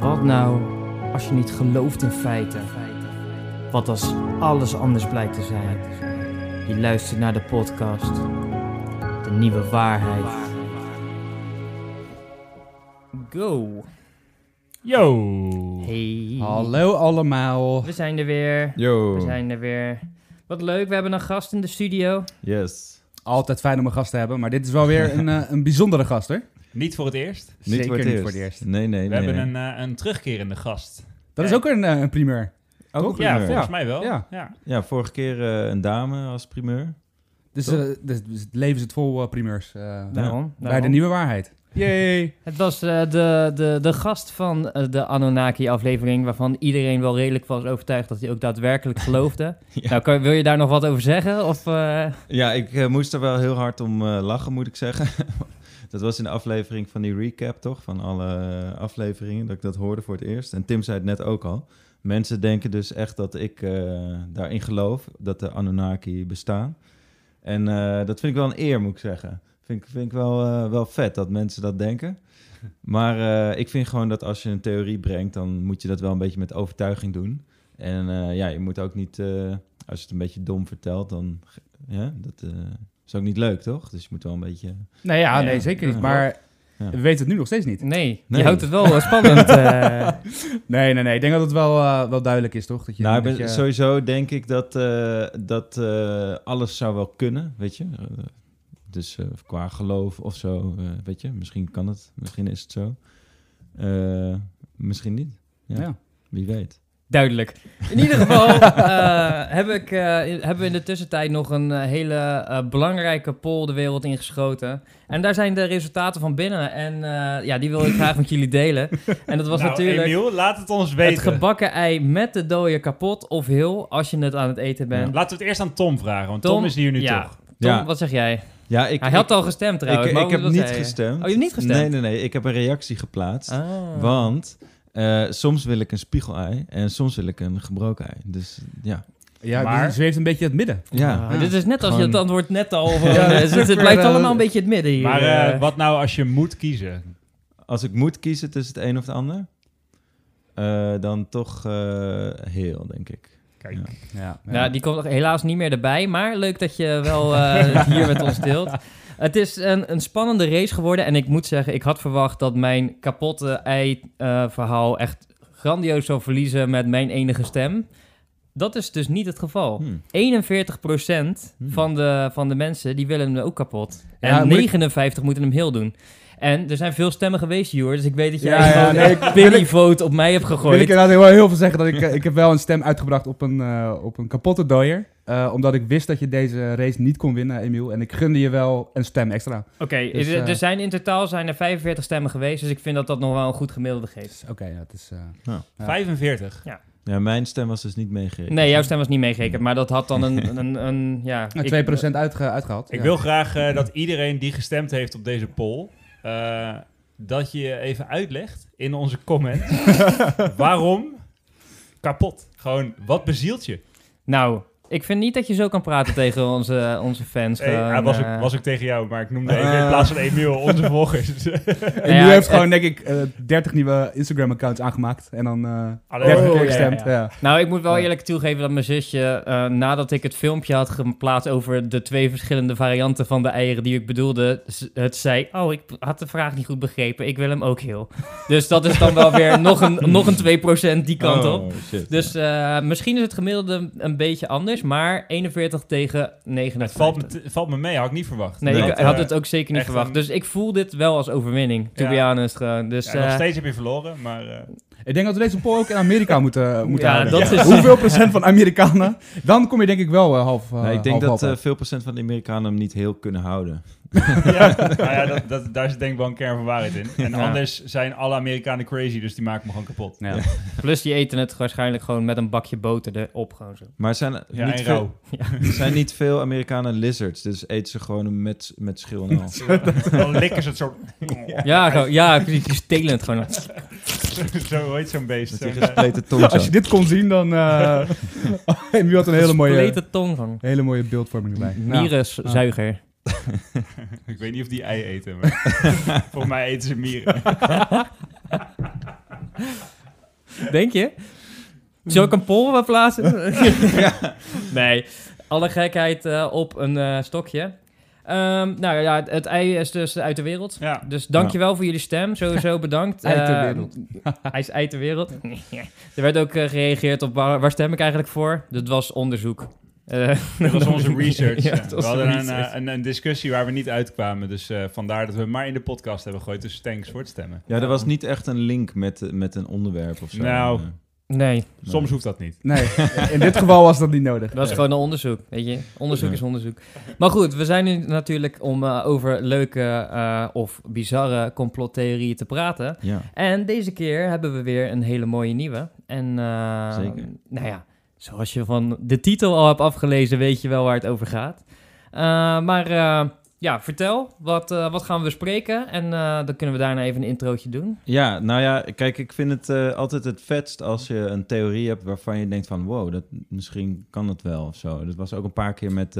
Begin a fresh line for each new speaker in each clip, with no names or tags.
Wat nou als je niet gelooft in feiten? Wat als alles anders blijkt te zijn? Je luistert naar de podcast. De nieuwe waarheid. Go.
Yo!
Hey.
Hallo allemaal.
We zijn er weer.
Yo!
We zijn er weer. Wat leuk, we hebben een gast in de studio.
Yes.
Altijd fijn om een gast te hebben, maar dit is wel weer een, eh, een bijzondere gast hoor.
Niet voor het eerst. We
Niet
Zeker
voor het
niet
eerst.
voor het eerst.
Nee, nee, nee.
hebben
nee.
een, eh, een terugkerende gast.
Dat is ook een, eh, een primeur.
Ook
Toch?
een primeur.
Ja, volgens
Ja.
mij wel.
Ja.
Ja.
Ja, vorige keer eh, een dame als primeur.
Dus, eh, dus, dus het leven zit vol eh, primeurs. eh,
Daarom.
Bij de
daarom.
nieuwe waarheid. Yay!
Het was eh, de, de, de gast van eh, de Anunnaki-aflevering, waarvan iedereen wel redelijk was overtuigd dat hij ook daadwerkelijk geloofde.
Ja.
Nou, kan, wil je daar nog wat over zeggen? Of, eh,
Ja, ik eh, moest er wel heel hard om eh, lachen, moet ik zeggen. dat was in de aflevering van die recap, toch? Van alle eh, afleveringen, dat ik dat hoorde voor het eerst. En Tim zei het net ook al. Mensen denken dus echt dat ik eh, daarin geloof, dat de Anunnaki bestaan. En eh, dat vind ik wel een eer, moet ik zeggen. Vind, ik- vind ik wel, eh, wel vet dat mensen dat denken. Maar eh, ik vind gewoon dat als je een theorie brengt, dan moet je dat wel een beetje met overtuiging doen. En eh, ja, je moet ook niet, eh, als je het een beetje dom vertelt, dan ja, dat eh, is ook niet leuk, toch? Dus je moet wel een beetje...
Nou ja,
Ja,
nee, zeker niet.
ja.
Maar
Ja.
we weten het nu nog steeds niet.
nee,
Nee.
je houdt het wel eh, spannend. eh.
Nee, nee, nee. Ik denk dat het wel, eh, wel duidelijk is, toch? Dat je,
nou, ik
dat
ben-
je-
sowieso denk ik dat, eh, dat eh, alles zou wel kunnen, weet je? Eh, dus eh, qua geloof of zo, eh, weet je? Misschien kan het, misschien is het zo. Eh, misschien niet, ja.
ja.
wie weet.
Duidelijk. In ieder geval eh, heb ik, eh, in- hebben we in de tussentijd nog een eh, hele eh, belangrijke poll de wereld ingeschoten. En daar zijn de resultaten van binnen. En eh, ja, die wil ik graag met jullie delen. En dat was
Nou,
natuurlijk
Emiel, laat het ons
het
weten.
gebakken ei met de dode kapot of heel, als je het aan het eten bent.
Laten we het eerst aan Tom vragen, want Tom,
Tom,
is hier nu
ja.
toch.
Tom,
Ja.
wat zeg jij?
Ja, ik,
Hij had
ik-
al gestemd trouwens.
ik,
maar
ik
wat
heb
zei
niet
je?
gestemd.
Oh, je hebt niet gestemd?
Nee, nee, nee. Ik heb een reactie geplaatst.
Ah.
Want eh, soms wil ik een spiegelei en soms wil ik een gebroken ei. Dus ja.
ja
Maar-
maar... zweeft een beetje het midden.
ja.
Ah, Dit is net als je
Gewoon-
het antwoord net al...
Ja, dat is
het, het
ook weer,
blijft
eh,
allemaal een beetje het midden hier.
Maar eh,
eh.
wat nou als je moet kiezen?
Als ik moet kiezen tussen het een of het ander, eh, dan toch eh, heel, denk ik.
Kijk,
Ja.
Ja, ja.
Nou, die komt helaas niet meer erbij, maar leuk dat je wel eh, het hier met ons deelt. Het is een, een spannende race geworden en ik moet zeggen, ik had verwacht dat mijn kapotte ei-verhaal echt grandioos zou verliezen met mijn enige stem. Dat is dus niet het geval.
Hm.
41% van de, van de mensen die willen hem ook kapot. En
Hmm. Ja, moet ik-
59 moeten hem heel doen. En er zijn veel stemmen geweest, Joer, dus ik weet dat jij
Ja, ja,
gewoon
nee,
een pity vote op mij hebt
Wil ik
gegooid.
inderdaad heel, heel veel zeggen dat ik, eh, ik heb wel een stem uitgebracht op een, eh, op een kapotte dooier. Eh, omdat ik wist dat je deze race niet kon winnen, Emiel. En ik gunde je wel een stem extra.
Oké,
Dus,
er-
eh,
er zijn in totaal zijn er 45 stemmen geweest, dus ik vind dat dat nog wel een goed gemiddelde geeft.
Oké, ja, het is... eh, Ja.
45.
Ja, mijn stem was dus niet meegerekend.
Nee, jouw stem was niet meegerekend, maar dat had dan een, een, een ja...
nou,
ik-
2% uitge- uitgehaald.
Ik
ja.
wil graag eh, dat iedereen die gestemd heeft op deze poll, eh, dat je even uitlegt in onze comments waarom kapot. Gewoon, wat bezielt je?
Nou, ik vind niet dat je zo kan praten tegen onze, onze fans.
Hey,
gewoon,
ah, was,
eh,
ik, was ik tegen jou, maar ik noemde
Eh.
even in plaats van Emiel onze volgers.
En
Ja,
nu heeft
het-
gewoon, denk ik, eh 30 nieuwe Instagram-accounts aangemaakt. En dan eh
Alleen-
30
Oh,
keer
ja,
gestemd.
ja,
Ja,
ja.
Nou, ik moet wel
Ja.
eerlijk toegeven dat mijn zusje, eh, nadat ik het filmpje had geplaatst over de twee verschillende varianten van de eieren die ik bedoelde, z- het zei, oh, ik had de vraag niet goed begrepen, ik wil hem ook heel. Dus dat is dan wel weer nog een, nog een 2% die kant op.
Oh, shit.
Dus eh, misschien is het gemiddelde een beetje anders, maar 41 tegen
Het
59.
valt me, te- valt me mee, had ik niet verwacht.
Nee,
Nee,
ik
Want,
had
eh,
het ook zeker niet
echt
verwacht.
een-
Dus ik voel dit wel als overwinning, to
Ja.
be honest. Gewoon. Dus,
ja, nog
eh,
steeds heb je verloren, maar... eh,
Ik denk dat we deze poll ook in Amerika moeten, eh, moeten
Ja,
houden.
dat is-
Hoeveel procent van Amerikanen? Dan kom je denk ik wel eh, half, eh,
Nee, ik denk
half,
dat
half
eh,
uit.
veel procent van de Amerikanen hem niet heel kunnen houden.
ja, nou ja dat, dat, daar zit denk ik wel een kern van waarheid in. En
Ja.
anders zijn alle Amerikanen crazy, dus die maken me gewoon kapot.
Ja.
plus die eten het waarschijnlijk gewoon met een bakje boter erop. Gewoon zo.
Maar zijn er
Ja,
niet,
en
veel,
rauw.
zijn niet veel Amerikanen lizards, dus eten ze gewoon met, met schil en al.
Dan likken ze het zo...
Ja, gewoon, ja, die die stelen het gewoon.
zo ooit zo'n beest.
Met die
Zo'n, eh,
gespleten tong
Als je
zo.
dit kon zien, dan... eh Emiel had een hele mooie,
Complete tong van.
hele mooie beeldvorming erbij. Nou.
Mierenzuiger.
ik weet niet of die ei eten, maar volgens mij eten ze mieren.
Denk je? Zou ik een poll wel plaatsen? Nee, alle gekheid eh, op een eh, stokje. Ehm, nou ja, het ei is dus uit de wereld.
Ja.
Dus dankjewel voor jullie stem. Sowieso bedankt.
Uit de
Eh,
wereld.
hij is uit de wereld. er werd ook eh, gereageerd op waar, waar stem ik eigenlijk voor. Dat was onderzoek. Eh,
Dat was onze research.
Ja,
ja.
dat
we
was
hadden een,
research.
eh, een, een discussie waar we niet uitkwamen. Dus eh, vandaar dat we hem maar in de podcast hebben gegooid. Dus thanks voor het stemmen.
Ja, er was niet echt een link met, met een onderwerp of zo.
Nou.
Eh,
nee,
Soms hoeft dat niet.
Nee, in dit geval was dat niet nodig.
dat was gewoon een onderzoek. Weet je, onderzoek
Ja.
is onderzoek. Maar goed, we zijn nu natuurlijk om eh, over leuke eh, of bizarre complottheorieën te praten.
Ja.
En deze keer hebben we weer een hele mooie nieuwe. En eh,
Zeker.
nou ja, zoals je van de titel al hebt afgelezen, weet je wel waar het over gaat. Eh, maar eh, ja, vertel, wat, eh, wat gaan we bespreken? En eh, dan kunnen we daarna even een introotje doen.
Ja, nou ja, kijk, ik vind het eh, altijd het vetst als je een theorie hebt waarvan je denkt van... wow, dat, misschien kan dat wel of zo. Dat was ook een paar keer met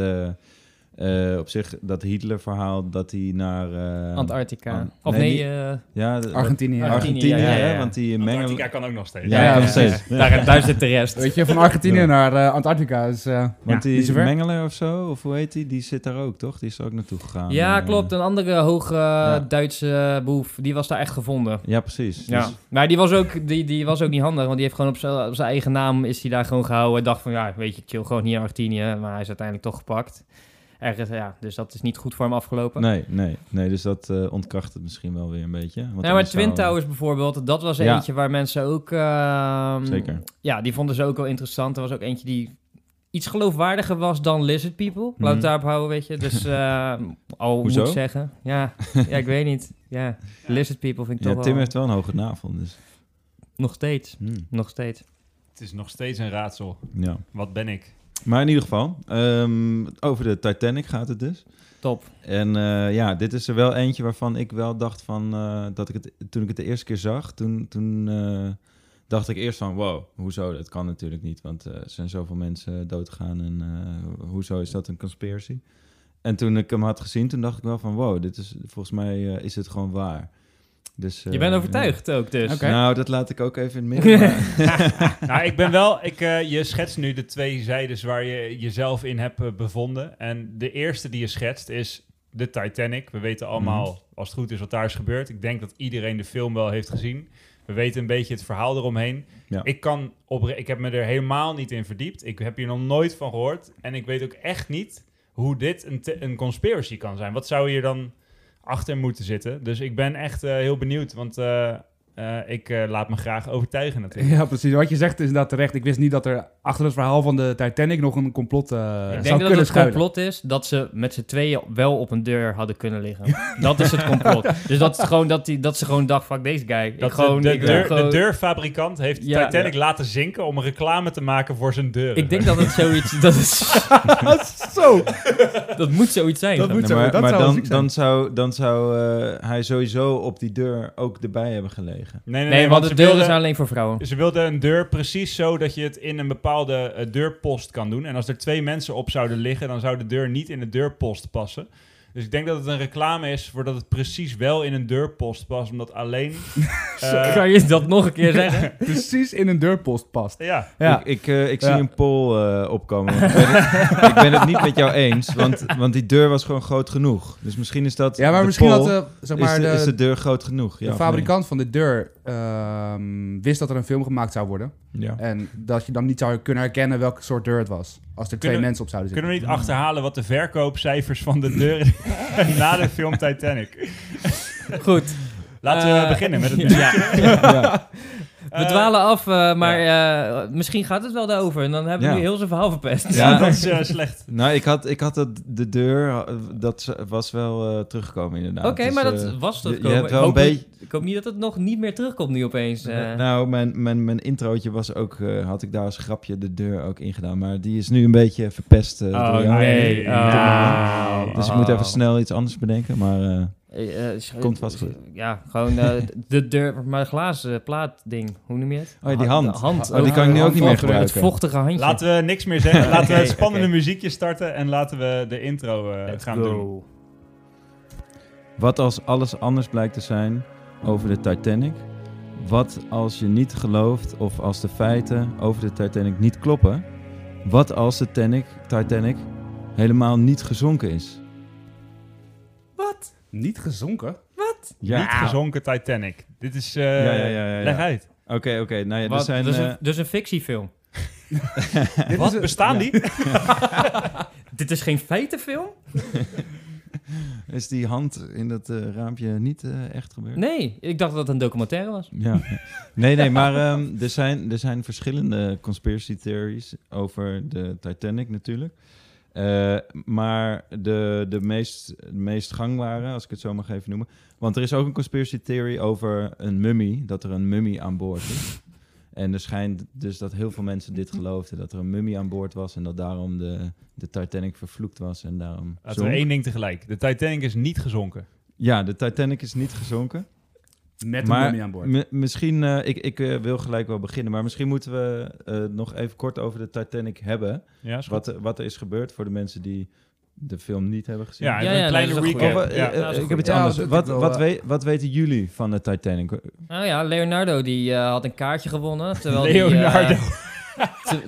eh, eh, op zich dat Hitler-verhaal dat hij naar... eh,
Antarctica.
an-
of
nee,
nee,
niet-
eh,
Ja, de-
Argentinië.
Argentinië.
Argentinië,
ja, ja,
hè,
ja.
want die mengen...
Antarctica kan ook nog steeds.
Ja,
Ja,
nog
ja.
steeds. Ja.
daar, daar zit de rest.
Weet je, van Argentinië
Ja.
naar eh, Antarctica is... eh,
Want
ja, niet
die
zo ver.
Mengeler of zo, of hoe heet die, die zit daar ook, toch? Die is er ook naartoe gegaan.
Ja,
Eh,
klopt. Een andere hoge Duitse eh, boef, die was daar echt gevonden.
Ja, precies.
Ja.
Dus-
Maar die was, ook, die, die was ook niet handig, want die heeft gewoon op z'n- op zijn eigen naam is hij daar gewoon gehouden. Hij dacht van, ja, weet je, ik chill gewoon hier in Argentinië, maar hij is uiteindelijk toch gepakt. Ergens, ja, dus dat is niet goed voor hem afgelopen.
nee, nee, nee, dus dat eh, ontkracht het misschien wel weer een beetje. want
ja, maar
anders zou-
Twin Towers bijvoorbeeld, dat was
Ja.
eentje waar mensen ook... ehm,
Zeker.
Ja, die vonden ze ook wel interessant. Er was ook eentje die iets geloofwaardiger was dan Lizard People. Laat
Mhm.
het daarop houden, weet je. Dus eh, al
Hoezo?
moet ik zeggen. Ja, ja, ik weet niet. Ja, Lizard People vind ik
Ja,
toch
Tim
wel...
heeft wel een hoge navel, dus...
Nog steeds,
hmm,
nog steeds.
Het is nog steeds een raadsel.
ja.
Wat ben ik?
Maar in ieder geval, ehm, over de Titanic gaat het dus.
Top.
En eh, ja, dit is er wel eentje waarvan ik wel dacht van... eh, dat ik het, toen ik het de eerste keer zag, toen, toen eh, dacht ik eerst van... wow, hoezo, dat kan natuurlijk niet. Want eh, er zijn zoveel mensen doodgaan en eh, hoezo is dat een conspiracy? En toen ik hem had gezien, toen dacht ik wel van... wow, dit is, volgens mij eh, is het gewoon waar. Dus,
Je
eh,
bent
ja.
overtuigd ook dus.
Oké.
Nou, dat laat ik ook even in het midden. maar-
nou, ik ben wel. Ik, eh, je schetst nu de twee zijdes waar je jezelf in hebt eh, bevonden. En de eerste die je schetst is de Titanic. We weten allemaal, als het goed is, wat daar is gebeurd. Ik denk dat iedereen de film wel heeft gezien. We weten een beetje het verhaal eromheen.
Ja.
Ik, kan op, ik heb me er helemaal niet in verdiept. Ik heb hier nog nooit van gehoord. En ik weet ook echt niet hoe dit een, te- een conspiracy kan zijn. Wat zou hier dan achter moeten zitten? Dus ik ben echt eh, heel benieuwd. Want eh, eh, ik eh, laat me graag overtuigen natuurlijk.
Ja, precies. Wat je zegt is inderdaad terecht. Ik wist niet dat er achter het verhaal van de Titanic nog een complot eh
Ik
zou
denk dat
kunnen
het
schuilen.
complot is dat ze met z'n tweeën wel op een deur hadden kunnen liggen. dat is het complot. Dus dat, is gewoon, dat, die, dat ze gewoon dacht, fuck deze guy. Ik
Dat
gewoon,
de, de
ik wil
deur,
gewoon-
de deurfabrikant heeft
Ja.
Titanic laten zinken om reclame te maken voor zijn deur.
Ik denk dat het zoiets... Dat, is,
Zo!
dat moet zoiets zijn.
Dat
gewoon.
moet
Nee,
zo,
maar
dat
maar
zou
dan,
ziek zijn.
dan zou, dan zou eh, hij sowieso op die deur ook erbij hebben gelegen.
Nee, nee,
Nee, want de
ze
deuren
wilden,
zijn alleen voor vrouwen.
ze wilden een deur precies zo dat je het in een bepaalde eh, deurpost kan doen. En als er twee mensen op zouden liggen, dan zou de deur niet in de deurpost passen. Dus ik denk dat het een reclame is voordat het precies wel in een deurpost past, omdat alleen... eh,
kan je dat nog een keer zeggen?
Precies in een deurpost past.
ja,
Ja.
Ik, ik, eh, ik
Ja.
zie een poll eh, opkomen. want ik, ben het, ik ben het niet met jou eens, want, want die deur was gewoon groot genoeg. Dus misschien is dat.
Ja, maar
de
misschien
poll,
had eh, zeg maar,
is, de,
de,
is de deur groot genoeg. Ja,
de
of
fabrikant van de deur ehm, wist dat er een film gemaakt zou worden.
nee? Ja.
En dat je dan niet zou kunnen herkennen welke soort deur het was. Als er twee
Kunnen-
mensen op zouden zitten.
kunnen we niet achterhalen wat de verkoopcijfers van de deuren na de film Titanic.
Goed.
Laten we
Eh,
beginnen met het
ja.
nummer.
We dwalen af, eh, maar eh, misschien gaat het wel daarover. En dan hebben we
Ja.
nu heel zijn verhaal verpest.
Ja.
dat is eh, slecht.
Nou, ik had, ik had dat, de deur, eh, dat ze- was wel eh, teruggekomen inderdaad.
Oké,
Dus,
maar
eh,
dat was
je- je
dat komen.
hebt wel
ik, hoop
een
niet-
beetje-
ik hoop niet dat het nog niet meer terugkomt nu opeens. eh.
Nou, mijn, mijn, mijn introotje was ook, eh, had ik daar als grapje de deur ook ingedaan. Maar die is nu een beetje verpest. eh,
Oh
door jou.
nee.
Ja.
Oh.
Dus ik moet even snel iets anders bedenken. Maar eh,
Eh, eh, sch-
Komt vast goed.
Ja, gewoon eh, de deur, maar glazen plaat ding. Hoe noem je het?
Oh ja, die hand.
De hand.
oh, die kan ik nu ook niet meer
Het
gebruiken.
vochtige handje.
Laten we niks meer zeggen. Laten we
Oké,
het spannende
oké.
muziekje starten en laten we de intro eh,
Let's
gaan
go.
doen.
Wat als alles anders blijkt te zijn over de Titanic? Wat als je niet gelooft of als de feiten over de Titanic niet kloppen? Wat als de Titanic, Titanic helemaal niet gezonken is?
Niet gezonken?
Niet gezonken Titanic. Dit is... eh,
Ja, ja, ja, ja, ja.
Leg uit.
Oké, oké. nou ja, er
Wat?
zijn...
dus,
eh,
een, dus een fictiefilm.
Dit is
Wat?
een-
Bestaan
ja.
die?
Dit is geen feitenfilm?
Is die hand in dat eh, raampje niet eh, echt gebeurd?
Hm.
Nee, ik dacht dat het een documentaire was.
Ja. Nee, nee, maar ehm, er, zijn, er zijn verschillende conspiracy theories over de Titanic natuurlijk. Eh, maar de, de, meest, de meest gangbare, als ik het zo mag even noemen. Want er is ook een conspiracy theory over een mummie, dat er een mummie aan boord is. En er schijnt dus dat heel veel mensen dit geloofden, dat er een mummie aan boord was en dat daarom de, de Titanic vervloekt was en daarom...
Laten we
zonk.
één ding tegelijk. De Titanic is niet gezonken.
Ja, de Titanic is niet gezonken.
Met een
Maar
mummy aan boord.
Mi- misschien, eh, ik, ik eh, wil gelijk wel beginnen, maar misschien moeten we eh, nog even kort over de Titanic hebben.
Ja, is goed.
Wat, er- wat er is gebeurd voor de mensen die de film niet hebben gezien.
Ja,
Ja,
een
ja,
kleine
dat is een
recap.
Of, eh,
Ja.
eh,
dat is
ik
goed.
heb iets
Ja,
anders.
dat
Wat,
doe ik
wat,
wel,
we- wat weten jullie van de Titanic?
Nou ja, Leonardo die eh, had een kaartje gewonnen. Terwijl
Leonardo.
Die, eh, te-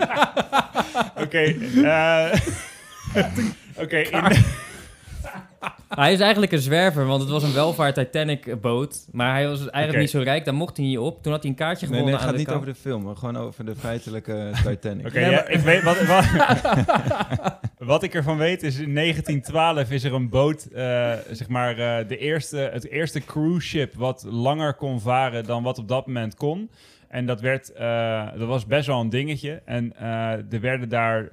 Oké. eh, Oké, in-
hij is eigenlijk een zwerver, want het was een welvaart Titanic boot. Maar hij was eigenlijk
Oké.
niet zo rijk, daar mocht hij niet op. Toen had hij een kaartje
Nee,
gewonnen
nee, het gaat
aan
niet
de
over de film, maar gewoon over de feitelijke Titanic.
Oké, ja, ik weet wat, wat, wat ik ervan weet is in 1912 is er een boot, eh, zeg maar, eh, de eerste, het eerste cruise ship wat langer kon varen dan wat op dat moment kon. En dat, werd, eh, dat was best wel een dingetje. En eh, er werden daar eh,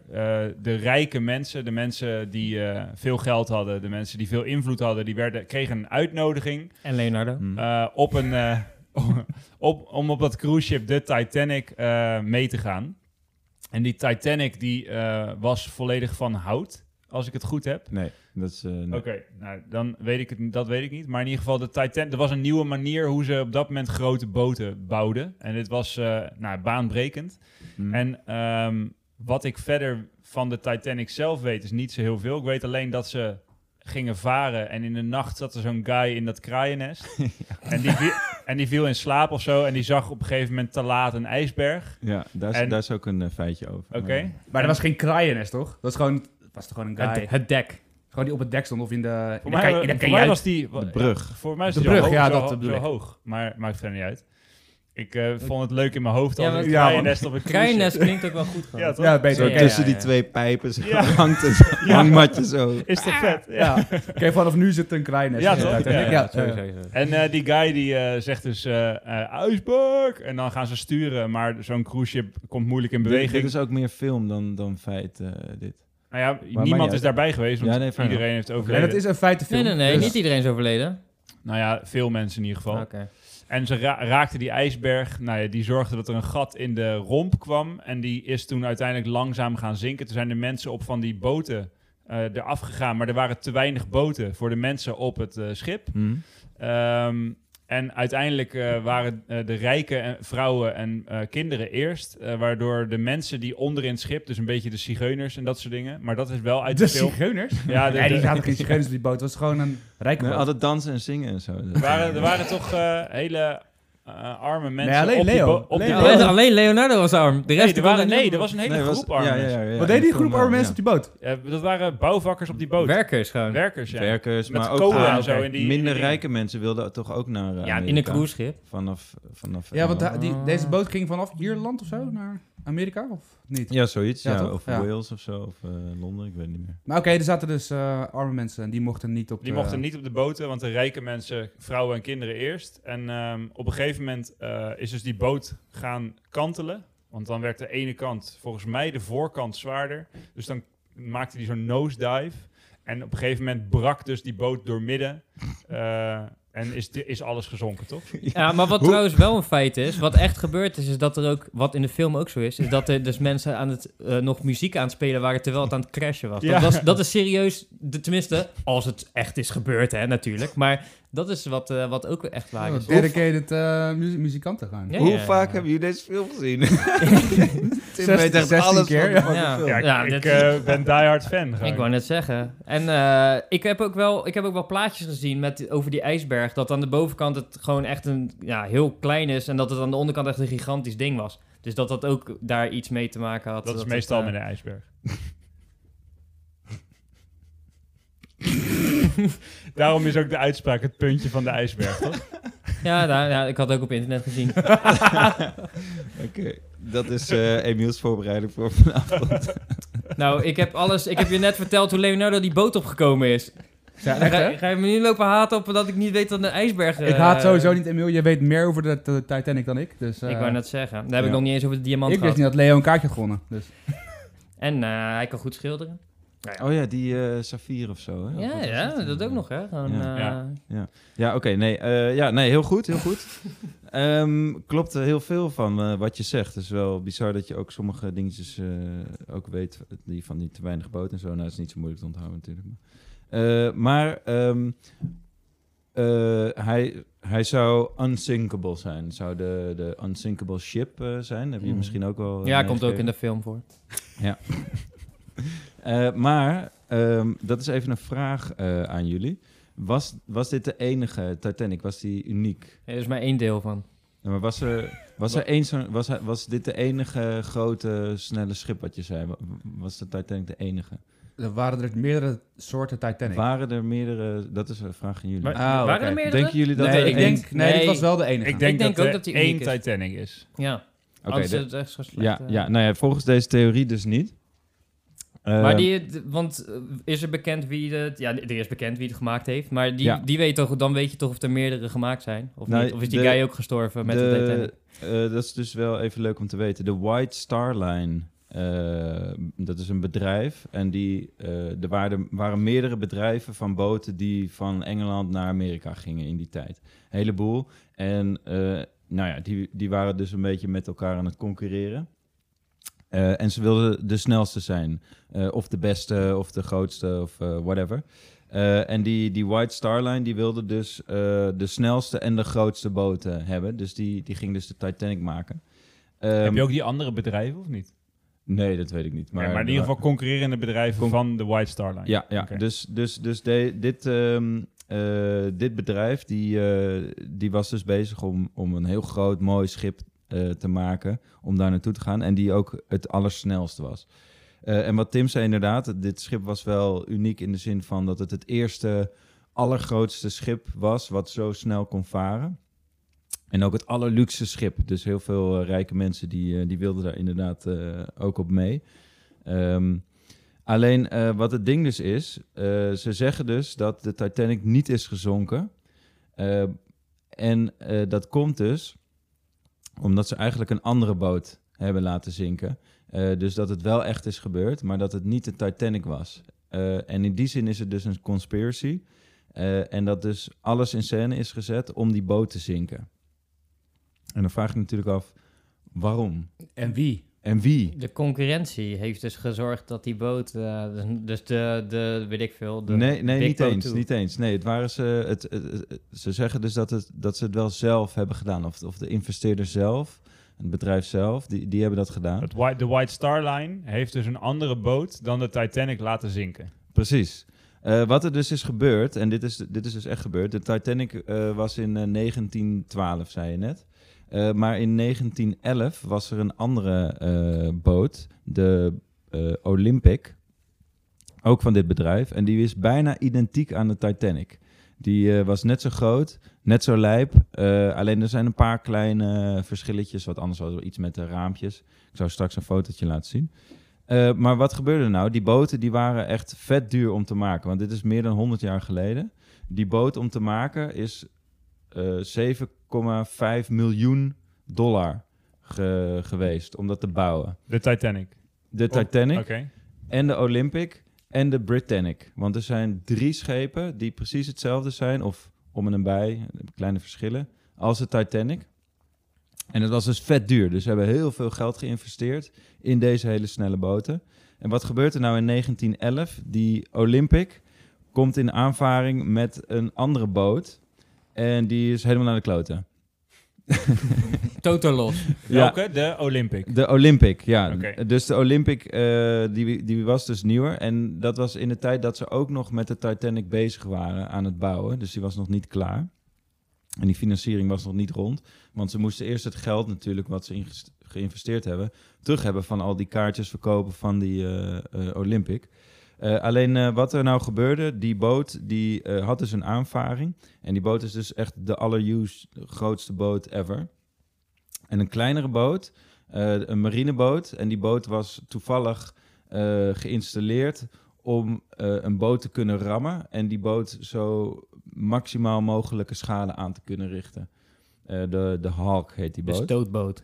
de rijke mensen, de mensen die eh, veel geld hadden, de mensen die veel invloed hadden, die werden, kregen een uitnodiging
En Leonardo.
Hm.
eh, op een, eh, op, om op dat cruise ship de Titanic eh, mee te gaan. En die Titanic die eh, was volledig van hout, als ik het goed heb.
Nee, dat is... eh, nee.
Oké, nou dan weet ik het, dat weet ik niet. Maar in ieder geval, de Titanic, er was een nieuwe manier hoe ze op dat moment grote boten bouwden. En dit was eh, nou, baanbrekend.
Hm.
En ehm, wat ik verder van de Titanic zelf weet, is niet zo heel veel. Ik weet alleen dat ze gingen varen en in de nacht zat er zo'n guy in dat kraaiennest. en, die viel, en die viel in slaap of zo en die zag op een gegeven moment te laat een ijsberg.
Ja, daar is,
en-
daar is ook een eh, feitje over.
Oké?
Maar er was geen kraaiennest, toch? Dat was gewoon, dat was toch gewoon een
Het,
guy.
het dek.
Gewoon die op het dek stond of in de...
Voor
in de kei-
mij,
in de
voor mij
kajuit.
was die...
De brug.
Voor mij is
De
die zo
brug,
hoog,
ja,
zo,
dat
ho-
bedoel
zo
ik.
hoog. Maar maakt verder niet uit. Ik eh, vond het leuk in mijn hoofd
Ja,
als
maar-
een
Ja, man.
kraaiennest op een cruise ship.
Kraaiennest klinkt ook wel goed gewoon.
Ja, toch?
Ja, beter.
Zo
Ja, ja,
tussen
ja, ja.
die twee pijpen zo
Ja.
hangt het
Ja.
hangmatje zo.
Is toch vet?
Ja. Oké, vanaf nu zit een kraaiennest.
Ja,
in de
toch?
Titanic.
Ja,
Ja, eh,
Sowieso, sowieso.
En eh, die guy die eh, zegt dus eh eh, ijsberg en dan gaan ze sturen, maar zo'n cruise ship komt moeilijk in beweging.
Dit is ook meer film dan, dan feit, eh, dit.
nou ja,
maar
niemand
ja,
is daarbij geweest, want
Ja, nee, fair
iedereen heeft
En
overleden.
het is een feitenfilm.
Nee, nee, nee,
dus-
niet iedereen is overleden.
Nou ja, veel mensen in ieder geval.
Oké.
En ze ra- raakten die ijsberg, nou ja, die zorgde dat er een gat in de romp kwam en die is toen uiteindelijk langzaam gaan zinken. Toen zijn de mensen op van die boten eh eraf gegaan, maar er waren te weinig boten voor de mensen op het eh, schip.
Hm.
Ehm, en uiteindelijk eh, waren eh, de rijken en vrouwen en eh, kinderen eerst. eh, waardoor de mensen die onderin het schip, dus een beetje de zigeuners en dat soort dingen. Maar dat is wel uit de,
De
film.
zigeuners?
Ja, de-
Nee, oh, die
de-
zaten geen zigeuners op die boot. Het was gewoon een rijke
Nee,
boot.
altijd dansen en zingen en zo.
er, waren, er waren toch eh, hele eh, arme mensen
alleen
op die
Leo.
bo- op die
Leo.
boot.
Alleen- Oh, Alleen Leonardo was arm. De rest
Nee, er
kon
waren,
er
nee,
niet
er was een hele
Nee, was-
groep arme
ja, ja,
mensen.
ja, ja,
Wat deed die
ik
groep
vond wel,
arme mensen
ja.
op die boot?
Eh, dat waren bouwvakkers op die boot.
Werkers gewoon.
Werkers, ja.
Werkers,
Met
maar ook
kolen
ah,
en zo.
oké.
in die, in
minder
die-
rijke mensen wilden toch ook naar eh,
ja, in een
Amerika.
cruiseschip.
Vanaf, vanaf eh,
Ja, want
Engeland.
da- die, deze boot ging vanaf Ierland of zo naar Amerika, of niet?
Ja, zoiets.
Ja,
Ja,
toch?
of
Ja.
Wales of zo, of eh, Londen, ik weet niet meer.
Maar oké, er zaten dus eh, arme mensen en die mochten niet op
Die
de-
mochten niet op de boten, want de rijke mensen, vrouwen en kinderen eerst. En ehm, op een gegeven moment eh, is dus die boot gaan kantelen. Want dan werd de ene kant, volgens mij de voorkant, zwaarder. Dus dan maakte die zo'n nosedive. En op een gegeven moment brak dus die boot doormidden. eh en is, di- is alles gezonken, toch?
Ja, maar wat
Hoe-
trouwens wel een feit is, wat echt gebeurd is, is dat er ook, wat in de film ook zo is, is dat er dus mensen aan het, eh, nog muziek aan het spelen waren terwijl het aan het crashen was.
Ja.
Dat, was dat is serieus de- tenminste, als het echt is gebeurd, hè, natuurlijk. Maar dat is wat, eh, wat ook echt waar is.
dedicated eh, mu- muzikanten gaan.
Ja,
Hoe
ja,
vaak
ja.
hebben jullie deze film gezien? Tim weet echt
16
alles
keer,
van van
ja.
de
Ja.
film.
Ja, ik,
Ja,
ik,
dit-
eh, ben diehard fan. gewoon.
Ik wou net zeggen. En eh, ik, heb ook wel, ik heb ook wel plaatjes gezien met, over die ijsberg. Dat aan de bovenkant het gewoon echt een ja, heel klein is. En dat het aan de onderkant echt een gigantisch ding was. Dus dat dat ook daar iets mee te maken had.
dat, is meestal
het,
met
eh,
een ijsberg. Daarom is ook de uitspraak het puntje van de ijsberg, toch?
Ja, nou, ja, ik had het ook op internet gezien.
Oké, dat is eh Emiel's voorbereiding voor vanavond.
nou, ik heb alles. Ik heb je net verteld hoe Leonardo die boot opgekomen is.
Ja, echt,
Ga,
hè?
ga je me nu lopen haten op dat ik niet weet dat een ijsberg.
ik
eh,
haat sowieso niet Emil. Je weet meer over de, de Titanic dan ik. Dus, eh,
Ik wou net zeggen. Daar heb ik
Ja.
nog niet eens over de diamant
ik wist
gehad.
niet dat Leo een kaartje had gewonnen. Dus.
En eh, hij kan goed schilderen.
Oh ja, die eh Safir of zo.
Oh,
Hè? Of
Ja,
wat was
ja,
het?
dat ook nog, hè? Gewoon,
Ja.
eh,
Ja.
Ja, oké. nee, eh, ja, nee, heel goed, heel goed. Ehm, klopt er heel veel van eh, wat je zegt. Het is wel bizar dat je ook sommige dingetjes eh, ook weet. Die van die te weinig boot en zo. Nou, dat is niet zo moeilijk te onthouden natuurlijk. Eh, maar ehm, eh, hij, hij zou unsinkable zijn. Zou de, de unsinkable ship eh, zijn. Heb je
Mhm.
misschien ook wel... eh,
ja, komt ook
meegekregen.
in de film voor.
Eh, maar, ehm, dat is even een vraag eh, aan jullie. Was, was dit de enige Titanic? Was die uniek?
Er is maar één deel van.
Ja, maar was er, was er één zo'n- was, hij- was dit de enige grote snelle schip wat je zei? Wa- Was de Titanic de enige?
Er waren er meerdere soorten Titanic.
Waren er meerdere? Dat is een vraag aan jullie.
Maar-
Ah,
Waren
oké.
er meerdere?
Denken jullie dat
nee,
er
ik
één-
denk, nee, dit
Nee.
was wel de enige.
Ik denk,
denk
dat
ook
er
dat die
één
uniek is.
Titanic is.
Ja,
Oké,
anders
de-
is het echt zo slecht.
ja,
eh.
ja, nou ja, volgens deze theorie dus niet. Eh,
Maar die, d- want eh, is er bekend wie het, ja, er is bekend wie het gemaakt heeft, maar die,
Ja.
die weet toch, dan weet je toch of er meerdere gemaakt zijn, of
Nou,
niet? Of is die
de-
guy ook gestorven met de, Titanic?
eh, dat is dus wel even leuk om te weten. De White Star Line, eh, dat is een bedrijf. En die, eh, er waren, waren meerdere bedrijven van boten die van Engeland naar Amerika gingen in die tijd. Een heleboel. En eh, nou ja, die, die waren dus een beetje met elkaar aan het concurreren. Eh, en ze wilden de snelste zijn. Eh, of de beste, of de grootste, of eh, whatever. Eh, en die, die White Star Line die wilde dus eh, de snelste en de grootste boten hebben. Dus die, die ging dus de Titanic maken. Ehm,
Heb je ook die andere bedrijven of niet?
Nee, dat weet ik niet.
Maar,
Maar,
maar in ieder geval concurrerende bedrijven
Con-
van de White Star Line.
Ja, ja.
Oké.
dus, dus, dus de- dit, ehm, eh, dit bedrijf die, eh, die was dus bezig om, om een heel groot, mooi schip eh, te maken. Om daar naartoe te gaan. En die ook het allersnelste was. Eh, en wat Tim zei inderdaad, dit schip was wel uniek in de zin van dat het het eerste, allergrootste schip was wat zo snel kon varen. En ook het allerluxe schip. Dus heel veel eh, rijke mensen die, eh, die wilden daar inderdaad eh, ook op mee. Ehm, Alleen eh, wat het ding dus is, eh, ze zeggen dus dat de Titanic niet is gezonken. Eh, en eh, dat komt dus omdat ze eigenlijk een andere boot hebben laten zinken. Eh, dus dat het wel echt is gebeurd, maar dat het niet de Titanic was. Eh, en in die zin is het dus een conspiracy. Eh, en dat dus alles in scène is gezet om die boot te zinken. En dan vraag ik me natuurlijk af, waarom?
En wie?
En wie?
De concurrentie heeft dus gezorgd dat die boot, eh, dus- dus de, de, weet ik veel, de
nee, nee
Big
niet
Boat
eens,
Two.
niet eens. Nee, het waren ze. Het, het- het- ze zeggen dus dat, het, dat ze het wel zelf hebben gedaan. Of, of de investeerder zelf, het bedrijf zelf, die, die hebben dat gedaan.
Het White, de White Star Line heeft dus een andere boot dan de Titanic laten zinken.
Precies. Eh, wat er dus is gebeurd, en dit is, dit is dus echt gebeurd. De Titanic eh, was in eh, 1912, zei je net. Eh, maar in 1911 was er een andere eh, boot, de eh, Olympic, ook van dit bedrijf. En die is bijna identiek aan de Titanic. Die eh, was net zo groot, net zo lijp. eh, alleen er zijn een paar kleine eh, verschilletjes. Wat anders was er iets met de raampjes. Ik zou straks een fotootje laten zien. Eh, maar wat gebeurde er nou? Die boten die waren echt vet duur om te maken. Want dit is meer dan 100 jaar geleden. Die boot om te maken is eh, 7,5 miljoen dollar ge- geweest om dat te bouwen.
De Titanic.
De
Oh,
Titanic
Oké.
en de Olympic en de Britannic. Want er zijn drie schepen die precies hetzelfde zijn, of om en een bij, kleine verschillen, als de Titanic. En het was dus vet duur. Dus ze hebben heel veel geld geïnvesteerd in deze hele snelle boten. En wat gebeurt er nou in 1911? Die Olympic, komt in aanvaring met een andere boot. En die is helemaal naar de kloten.
Toto los.
Welke? De Olympic.
De Olympic, ja.
Oké.
Dus de Olympic, eh, die, die was dus nieuwer. En dat was in de tijd dat ze ook nog met de Titanic bezig waren aan het bouwen. Dus die was nog niet klaar. En die financiering was nog niet rond. Want ze moesten eerst het geld natuurlijk, wat ze inges- geïnvesteerd hebben, terug hebben van al die kaartjes verkopen van die eh, eh, Olympic. Eh, alleen eh, wat er nou gebeurde, die boot die eh, had dus een aanvaring. En die boot is dus echt de allerused grootste boot ever. En een kleinere boot, eh, een marineboot. En die boot was toevallig eh, geïnstalleerd om eh, een boot te kunnen rammen. En die boot zo maximaal mogelijke schade aan te kunnen richten. Eh, de, de Hawk heet die
De
boot.
stootboot.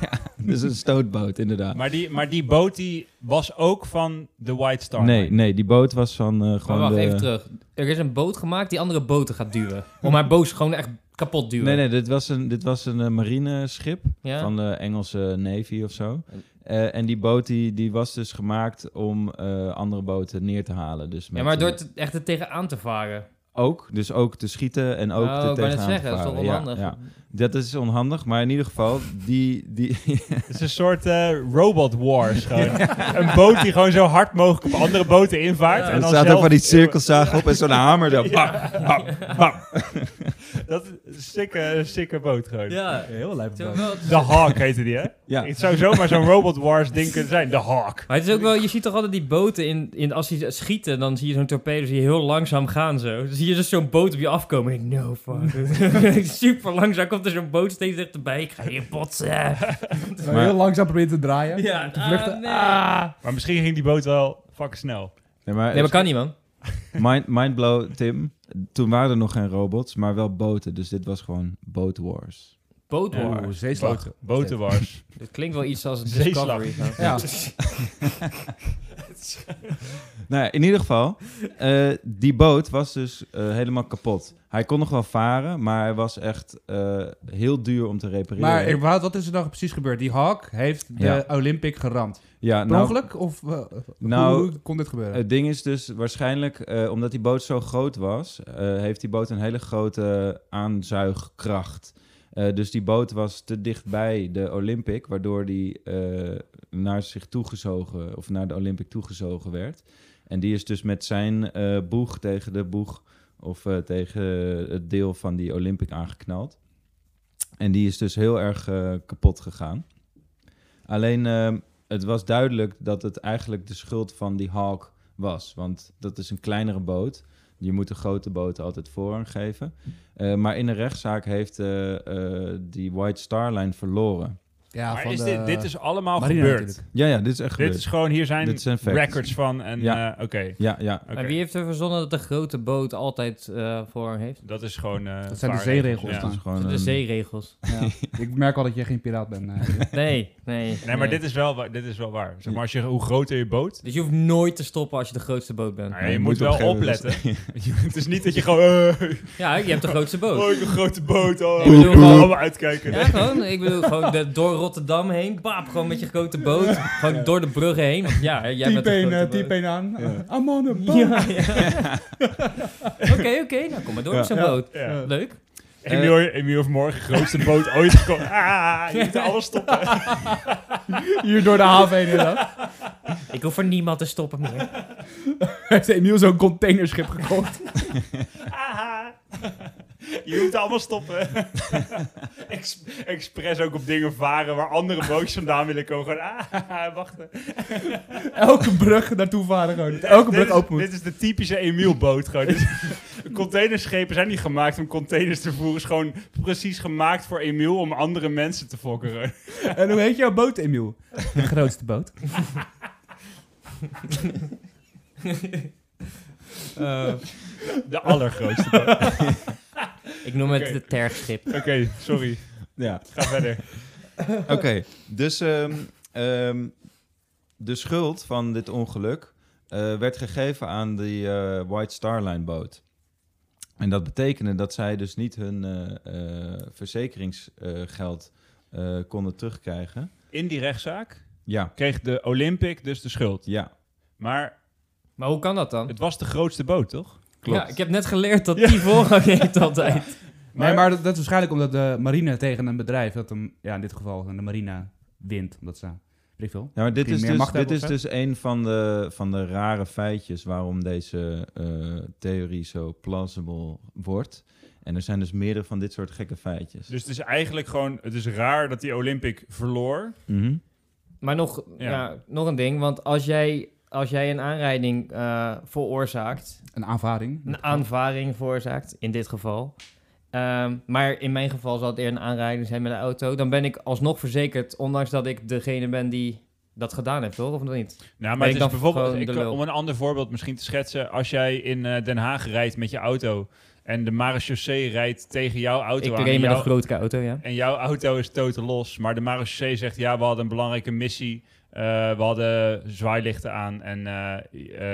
ja, dus een stootboot inderdaad.
Maar die, maar die boot die was ook van de White Star.
nee,
Line.
nee, die boot was van eh,
Maar
gewoon
wacht,
de...
even terug. Er is een boot gemaakt die andere boten gaat duwen. Om haar boot gewoon echt kapot duwen.
Nee, nee, dit was een, dit was een eh, marineschip
Ja?
van de Engelse Navy of zo.
En-
Eh, en die boot die, die was dus gemaakt om eh, andere boten neer te halen. Dus met,
ja, maar door
eh,
het echt er tegenaan te varen.
Ook, dus ook te schieten en ook
oh,
te
ik wou net
tegenaan te
zeggen, dat is toch
varen.
onhandig.
Ja, ja. Dat is onhandig, maar in ieder geval, die... die
Het is een soort eh, robot wars gewoon. Een boot die gewoon zo hard mogelijk op andere boten invaart.
Ja.
en
er
dan
staat
zelf-
ook van die cirkelzaag op en zo'n hamer. Zo, bam, bam, bam.
Dat is een sikke, sikke boot gewoon.
Ja,
Heel lijp.
terwijl wel-
De Hawk heette die, hè?
Ja.
Het zou zomaar zo'n robot wars ding kunnen zijn. De Hawk.
Maar het is ook wel, je ziet toch altijd die boten in, in als die schieten, dan zie je zo'n torpedo zie je heel langzaam gaan zo. Dan zie je dus zo'n boot op je afkomen. En ik, no fuck. Super langzaam komt er zo'n boot steeds dichterbij. Ik ga hier botsen.
Maar-
Heel langzaam proberen te draaien.
Ja,
te
ah,
vluchten.
nee.
Maar misschien ging die boot wel fucking snel.
Nee, maar,
Nee, maar kan niet man.
Mind, mindblow, Tim. Toen waren er nog geen robots, maar wel boten. Dus dit was gewoon boat wars.
Bootwar.
Ja.
Oeh, zeeslag.
Boten, boten wars.
Het klinkt wel iets als
Zeeslag.
Discovery.
Ja.
Nou ja, in ieder geval, eh, die boot was dus eh, helemaal kapot. Hij kon nog wel varen, maar hij was echt eh, heel duur om te repareren.
Maar ik- wat wat is er dan precies gebeurd? Die Hawk heeft de
Ja.
Olympic geramd.
ja,
Per
nou,
ongeluk? Of eh, hoe-
Nou,
hoe, kon dit gebeuren?
het ding is dus waarschijnlijk, eh, omdat die boot zo groot was, eh, heeft die boot een hele grote aanzuigkracht. Eh, dus die boot was te dicht bij de Olympic, waardoor die eh, naar zich toegezogen, of naar de Olympic toegezogen werd. En die is dus met zijn eh, boeg tegen de boeg, of eh, tegen het deel van die Olympic aangeknald. En die is dus heel erg eh, kapot gegaan. Alleen, eh, het was duidelijk dat het eigenlijk de schuld van die Hawk was. Want dat is een kleinere boot. Je moet de grote boten altijd voorrang geven. Eh, maar in een rechtszaak heeft eh, eh, die White Star Line verloren.
ja,
maar
van
is
de-
dit, dit is allemaal
Marina
gebeurd.
natuurlijk.
Ja, ja, dit is echt
Dit is gewoon, hier zijn,
Dit zijn facts.
records van. En
Ja.
eh, oké.
Ja, ja.
Oké.
En wie heeft er verzonnen dat de grote boot altijd eh voorrang heeft?
Dat is gewoon. eh,
Dat zijn de
vaarregels,
zeeregels
ja.
Het is
dan.
gewoon
De
een-
zeeregels.
Ja. Ik merk al dat je geen piraat bent. eh.
Nee, nee.
Nee, maar dit is wel, wa- dit is wel waar. Zeg
Ja.
maar, als je, hoe groter je boot.
Dus je hoeft nooit te stoppen als je de grootste boot bent.
Nou ja, je,
je
moet
moet op een
wel
gegeven moment-
opletten. het is niet dat je gewoon. eh,
Ja, je hebt de grootste boot.
oh, ik heb een grote boot. Oh,
Ik bedoel,
ik moet
gewoon-
allemaal uitkijken.
Eh.
Ja, gewoon. Ik bedoel, gewoon de- door Rotterdam heen. Baap, gewoon met je grote boot. Gewoon door de bruggen heen. Want ja, hè, jij bent de grote
Type
eh,
een eh,
boot.
type een aan. I'm on a boat.
Ja, ja. Oké, oké. nou, kom maar door met zo'n boot.
Ja.
Leuk.
Emiel, Emiel vanmorgen, grootste boot ooit gekomen. Ah, je moet alles stoppen.
Hier door de haven heen inderdaad.
Ik hoef voor niemand te stoppen meer.
Heeft Emiel zo'n containerschip gekocht.
Ah, je moet allemaal stoppen. Ex- expres ook op dingen varen waar andere bootjes vandaan willen komen. Gewoon, ah, wachten.
Elke brug naartoe varen gewoon. Elke
Dit
brug
is-
open moet.
Dit is de typische Emiel-boot. gewoon. Dit is- Containerschepen zijn niet gemaakt om containers te voeren. is gewoon precies gemaakt voor Emiel om andere mensen te fokken. gewoon.
En hoe heet jouw boot, Emiel? De grootste boot.
De allergrootste boot. Oké,
Ik noem het
Oké.
het tergschip.
sorry.
Ja.
Ga verder.
Oké, dus ehm, ehm, de schuld van dit ongeluk eh, werd gegeven aan die eh, White Star Line boot. En dat betekende dat zij dus niet hun eh, verzekeringsgeld eh, konden terugkrijgen.
In die rechtszaak
Ja,
kreeg de Olympic dus de schuld.
ja.
Maar
Maar hoe kan dat dan?
Het was de grootste boot, toch?
klopt.
Ja, ik heb net geleerd dat die voorrang heeft altijd.
Nee, maar dat, dat is waarschijnlijk omdat de marine tegen een bedrijf, dat hem, ja, in dit geval eh, de marina wint. Omdat ze, weet ik veel.
Ja, maar dit
Misschien
is,
meer
dus,
macht
dit
hebben
is
of
dus een van de, van de rare feitjes waarom deze eh, theorie zo plausible wordt. En er zijn dus meerdere van dit soort gekke feitjes.
Dus het is eigenlijk gewoon, het is raar dat die Olympic verloor.
Mhm.
Maar nog, ja.
Ja.
nog een ding, want als jij, als jij een aanrijding eh, veroorzaakt,
Een aanvaring.
een aanvaring veroorzaakt, in dit geval. ehm, maar in mijn geval zal het eerder een aanrijding zijn met een auto. Dan ben ik alsnog verzekerd, ondanks dat ik degene ben die dat gedaan heeft, toch? Of niet?
Nou,
Ben
maar
ik
het
dan
is bijvoorbeeld,
gewoon
ik-
de lul?
om een ander voorbeeld misschien te schetsen. Als jij in eh, Den Haag rijdt met je auto en de marechaussee rijdt tegen jouw auto aan.
ik
en
reed met
jouw-
een grote auto, ja.
En jouw auto is totaal los, maar de marechaussee zegt ja, we hadden een belangrijke missie. Eh, we hadden zwaailichten aan en eh,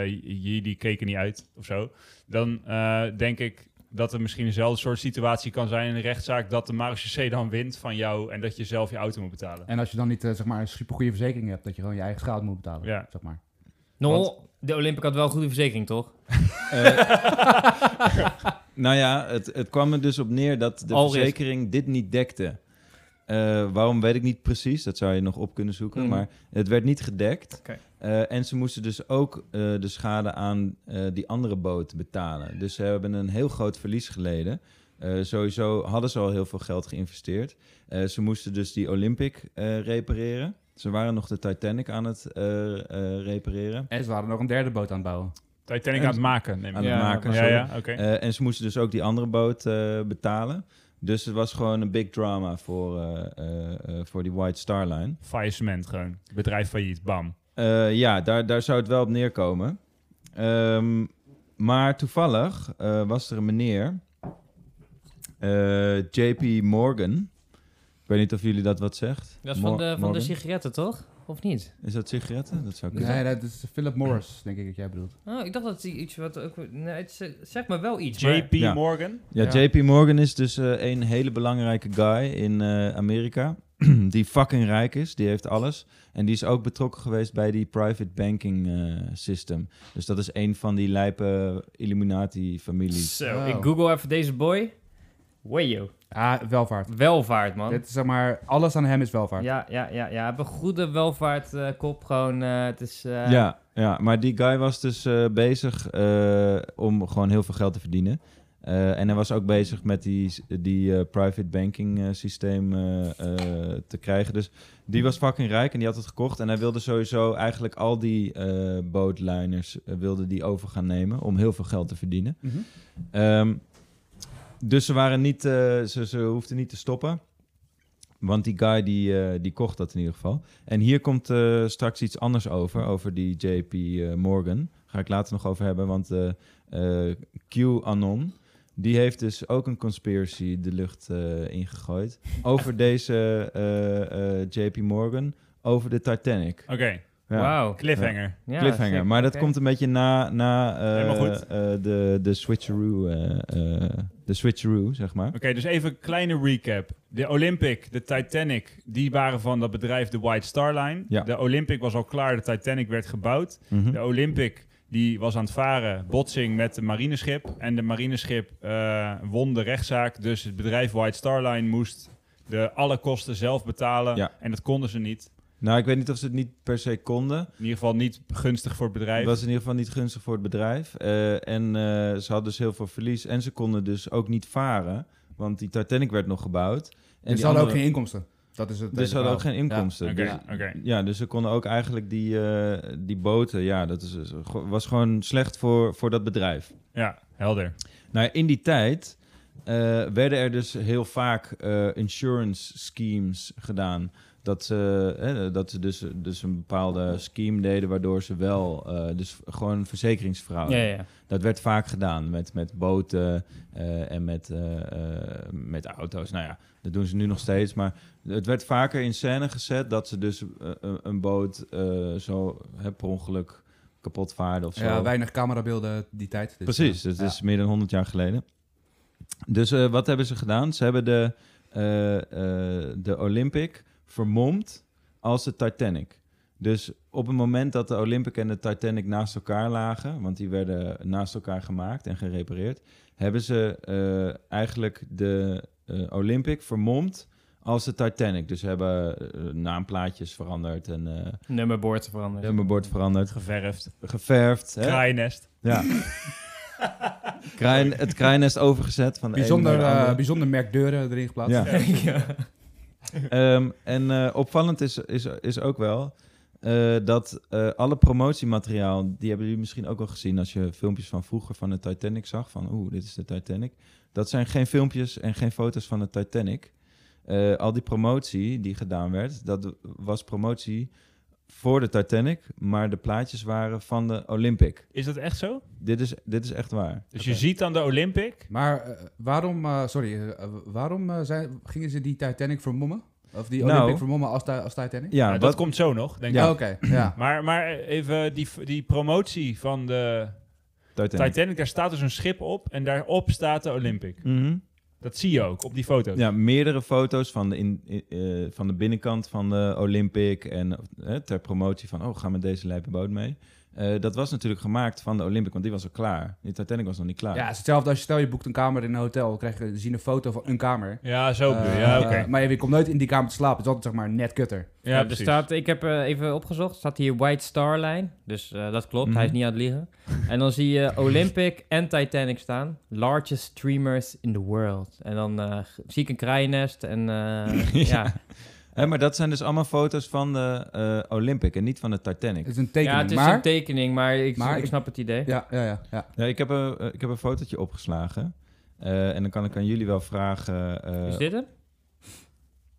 eh, jullie keken niet uit of zo. Dan eh, denk ik dat er misschien dezelfde soort situatie kan zijn in een rechtszaak dat de marechaussee dan wint van jou en dat je zelf je auto moet betalen.
En als je dan niet, eh, zeg maar, een supergoeie verzekering hebt, dat je gewoon je eigen schade moet betalen,
Ja.
zeg maar.
Nou,
Want-
de Olympic had wel een goede verzekering, toch?
Nou ja, het, het kwam er dus op neer dat de
Al risk.
verzekering dit niet dekte. Eh, waarom weet ik niet precies, dat zou je nog op kunnen zoeken,
Mhm.
maar het werd niet gedekt.
Oké.
Eh, en ze moesten dus ook eh, de schade aan eh, die andere boot betalen. Dus ze hebben een heel groot verlies geleden. Eh, sowieso hadden ze al heel veel geld geïnvesteerd. Eh, ze moesten dus die Olympic eh, repareren. Ze waren nog de Titanic aan het eh, eh, repareren.
En ze waren nog een derde boot aan het bouwen.
Titanic aan het maken, neem
Aan
ik
het
Ja,
maken.
aan. Ja,
sorry.
ja, oké.
Eh, en ze moesten dus ook die andere boot eh, betalen. Dus het was gewoon een big drama voor, eh, eh, eh, voor die White Star Line.
Faillissement gewoon. Bedrijf failliet, bam.
Eh, ja, daar, daar zou het wel op neerkomen. Ehm, maar toevallig eh, was er een meneer, eh, JP Morgan. Ik weet niet of jullie dat wat zegt.
Dat is van
Mor-
de, van de
Morgan?
sigaretten, toch? Of niet?
Is dat sigaretten? Dat zou kunnen.
Nee, dat is Philip Morris, denk ik dat jij bedoelt.
Oh, ik dacht dat hij iets wat ook... Nee, het z- zegt me wel iets, maar...
JP
Ja.
Morgan.
Ja,
Ja.
JP Morgan is dus eh, een hele belangrijke guy in eh, Amerika. die fucking rijk is, die heeft alles. En die is ook betrokken geweest bij die private banking eh, system. Dus dat is een van die lijpe Illuminati-families.
Zo,
Wow.
ik google even deze boy. Wayo.
Ah, welvaart.
Welvaart, man.
Dit is, zeg maar, alles aan hem is welvaart.
Ja, ja, ja, ja. Hij heeft een goede welvaart eh, kop gewoon. eh, het is... eh,
Ja, ja, maar die guy was dus eh, bezig eh, om gewoon heel veel geld te verdienen. Eh, en hij was ook bezig met die, die eh, private banking eh, systeem eh, eh, te krijgen. Dus die was fucking rijk en die had het gekocht. En hij wilde sowieso eigenlijk al die eh bootliners eh, wilde die over gaan nemen om heel veel geld te verdienen.
Mhm.
Ehm, dus ze, waren niet, eh, ze, ze hoefden niet te stoppen. Want die guy die, eh, die kocht dat in ieder geval. En hier komt eh, straks iets anders over, over die JP eh, Morgan. Ga ik later nog over hebben, want eh eh, QAnon, die heeft dus ook een conspiracy de lucht eh, ingegooid. Over deze eh, eh, JP Morgan, over de Titanic.
Oké,
Ja.
Wauw.
cliffhanger.
Ja,
Cliffhanger,
sick.
maar dat
Oké.
komt een beetje na, na eh,
Helemaal goed.
eh, de, de switcheroo, eh, eh, de switcheroo, zeg maar.
Oké, dus even een kleine recap. De Olympic, de Titanic, die waren van dat bedrijf de White Star Line.
Ja.
De Olympic was al klaar, de Titanic werd gebouwd.
Mhm.
De Olympic die was aan het varen, botsing met een marineschip. En de marineschip eh, won de rechtszaak, dus het bedrijf White Star Line moest de alle kosten zelf betalen.
Ja.
En dat konden ze niet.
Nou, ik weet niet of ze het niet per se konden.
In ieder geval niet gunstig voor het bedrijf.
Het was in ieder geval niet gunstig voor het bedrijf. Eh, en eh, ze hadden dus heel veel verlies. En ze konden dus ook niet varen. Want die Titanic werd nog gebouwd. En
En
die
Dus ze hadden ook
andere-
geen inkomsten. Dat is het
Dus ze hadden ook geen
hele verhaal.
inkomsten.
Oké,
Dus-
oké.
ja, dus ze konden ook eigenlijk die, eh, die boten... Ja, dat is, is- was gewoon slecht voor, voor dat bedrijf.
Ja, helder.
Nou, in die tijd eh, werden er dus heel vaak eh, insurance schemes gedaan. Dat ze, eh, dat ze dus, dus een bepaalde scheme deden... waardoor ze wel... eh, dus gewoon verzekeringsfraude.
Ja, ja, ja.
Dat werd vaak gedaan met, met boten eh, en met, eh, eh, met auto's. Nou ja, dat doen ze nu nog steeds. Maar het werd vaker in scène gezet dat ze dus eh, een- een boot eh, zo hè, per ongeluk kapot vaarden of zo.
Ja, weinig camerabeelden die tijd. dus,
Precies,
eh,
dat
ja.
is meer dan 100 jaar geleden. Dus eh, wat hebben ze gedaan? Ze hebben de, eh, eh, de Olympic vermomd als de Titanic. Dus op het moment dat de Olympic en de Titanic naast elkaar lagen, want die werden naast elkaar gemaakt en gerepareerd, hebben ze eh, eigenlijk de eh, Olympic vermomd als de Titanic. Dus ze hebben eh, naamplaatjes veranderd en eh
Nummerboord veranderd.
nummerbord veranderd,
Geverfd.
geverfd. Hè?
Kraaiennest.
Ja. Kraai- het kraaiennest overgezet van de ene
Bijzonder,
naar de andere.
eh, bijzonder merkdeuren erin geplaatst.
Ja.
ja.
Ehm, en eh, opvallend is, is, is ook wel eh, dat eh, alle promotiemateriaal, die hebben jullie misschien ook wel gezien als je filmpjes van vroeger van de Titanic zag, van oeh, dit is de Titanic. Dat zijn geen filmpjes en geen foto's van de Titanic. Eh, al die promotie die gedaan werd, dat was promotie voor de Titanic, maar de plaatjes waren van de Olympic.
Is dat echt zo?
Dit is, dit is echt waar.
Dus je ziet aan de Olympic.
Maar eh, waarom, eh, sorry, eh, waarom eh, zijn, gingen ze die Titanic vermommen? Of die
Nou.
Olympic vermommen als, ti- als Titanic?
Ja,
Nou,
wat,
dat komt zo nog, denk
Ja.
ik.
Oh, Oké, ja.
Maar, maar even die, die promotie van de
Titanic.
Titanic, daar staat dus een schip op en daarop staat de Olympic.
Mhm.
Dat zie je ook op die foto's.
Ja, meerdere foto's van de, in, i- eh, van de binnenkant van de Olympic. En eh, ter promotie van, oh, gaan we deze lijpe boot mee? Eh, dat was natuurlijk gemaakt van de Olympic, want die was al klaar. Die Titanic was nog niet klaar.
Ja, het is hetzelfde als je stel je boekt een kamer in een hotel, dan krijg je dan zie je een foto van een kamer.
Ja, zo bedoel je.
Eh,
Ja, oké.
eh, maar je komt nooit in die kamer te slapen, het is altijd zeg maar net kutter.
Ja,
Ja,
er
precies.
staat, ik heb eh, even opgezocht, staat hier White Star Line. Dus eh, dat klopt, hij is
Mhm.
niet aan het liegen. en dan zie je Olympic en Titanic staan. Largest streamers in the world. En dan eh, g- zie ik een kraaiennest en eh, ja.
Hè, maar dat zijn dus allemaal foto's van de eh, Olympic en niet van de Titanic.
Het is een
ja,
tekening,
het is
maar...
een tekening, maar ik,
maar
ik
ik-
snap het idee.
ja, ja, ja, ja.
Ja, ik, heb een, eh, ik heb een fotootje opgeslagen. Eh, en dan kan ik aan jullie wel vragen... eh,
Is dit hem?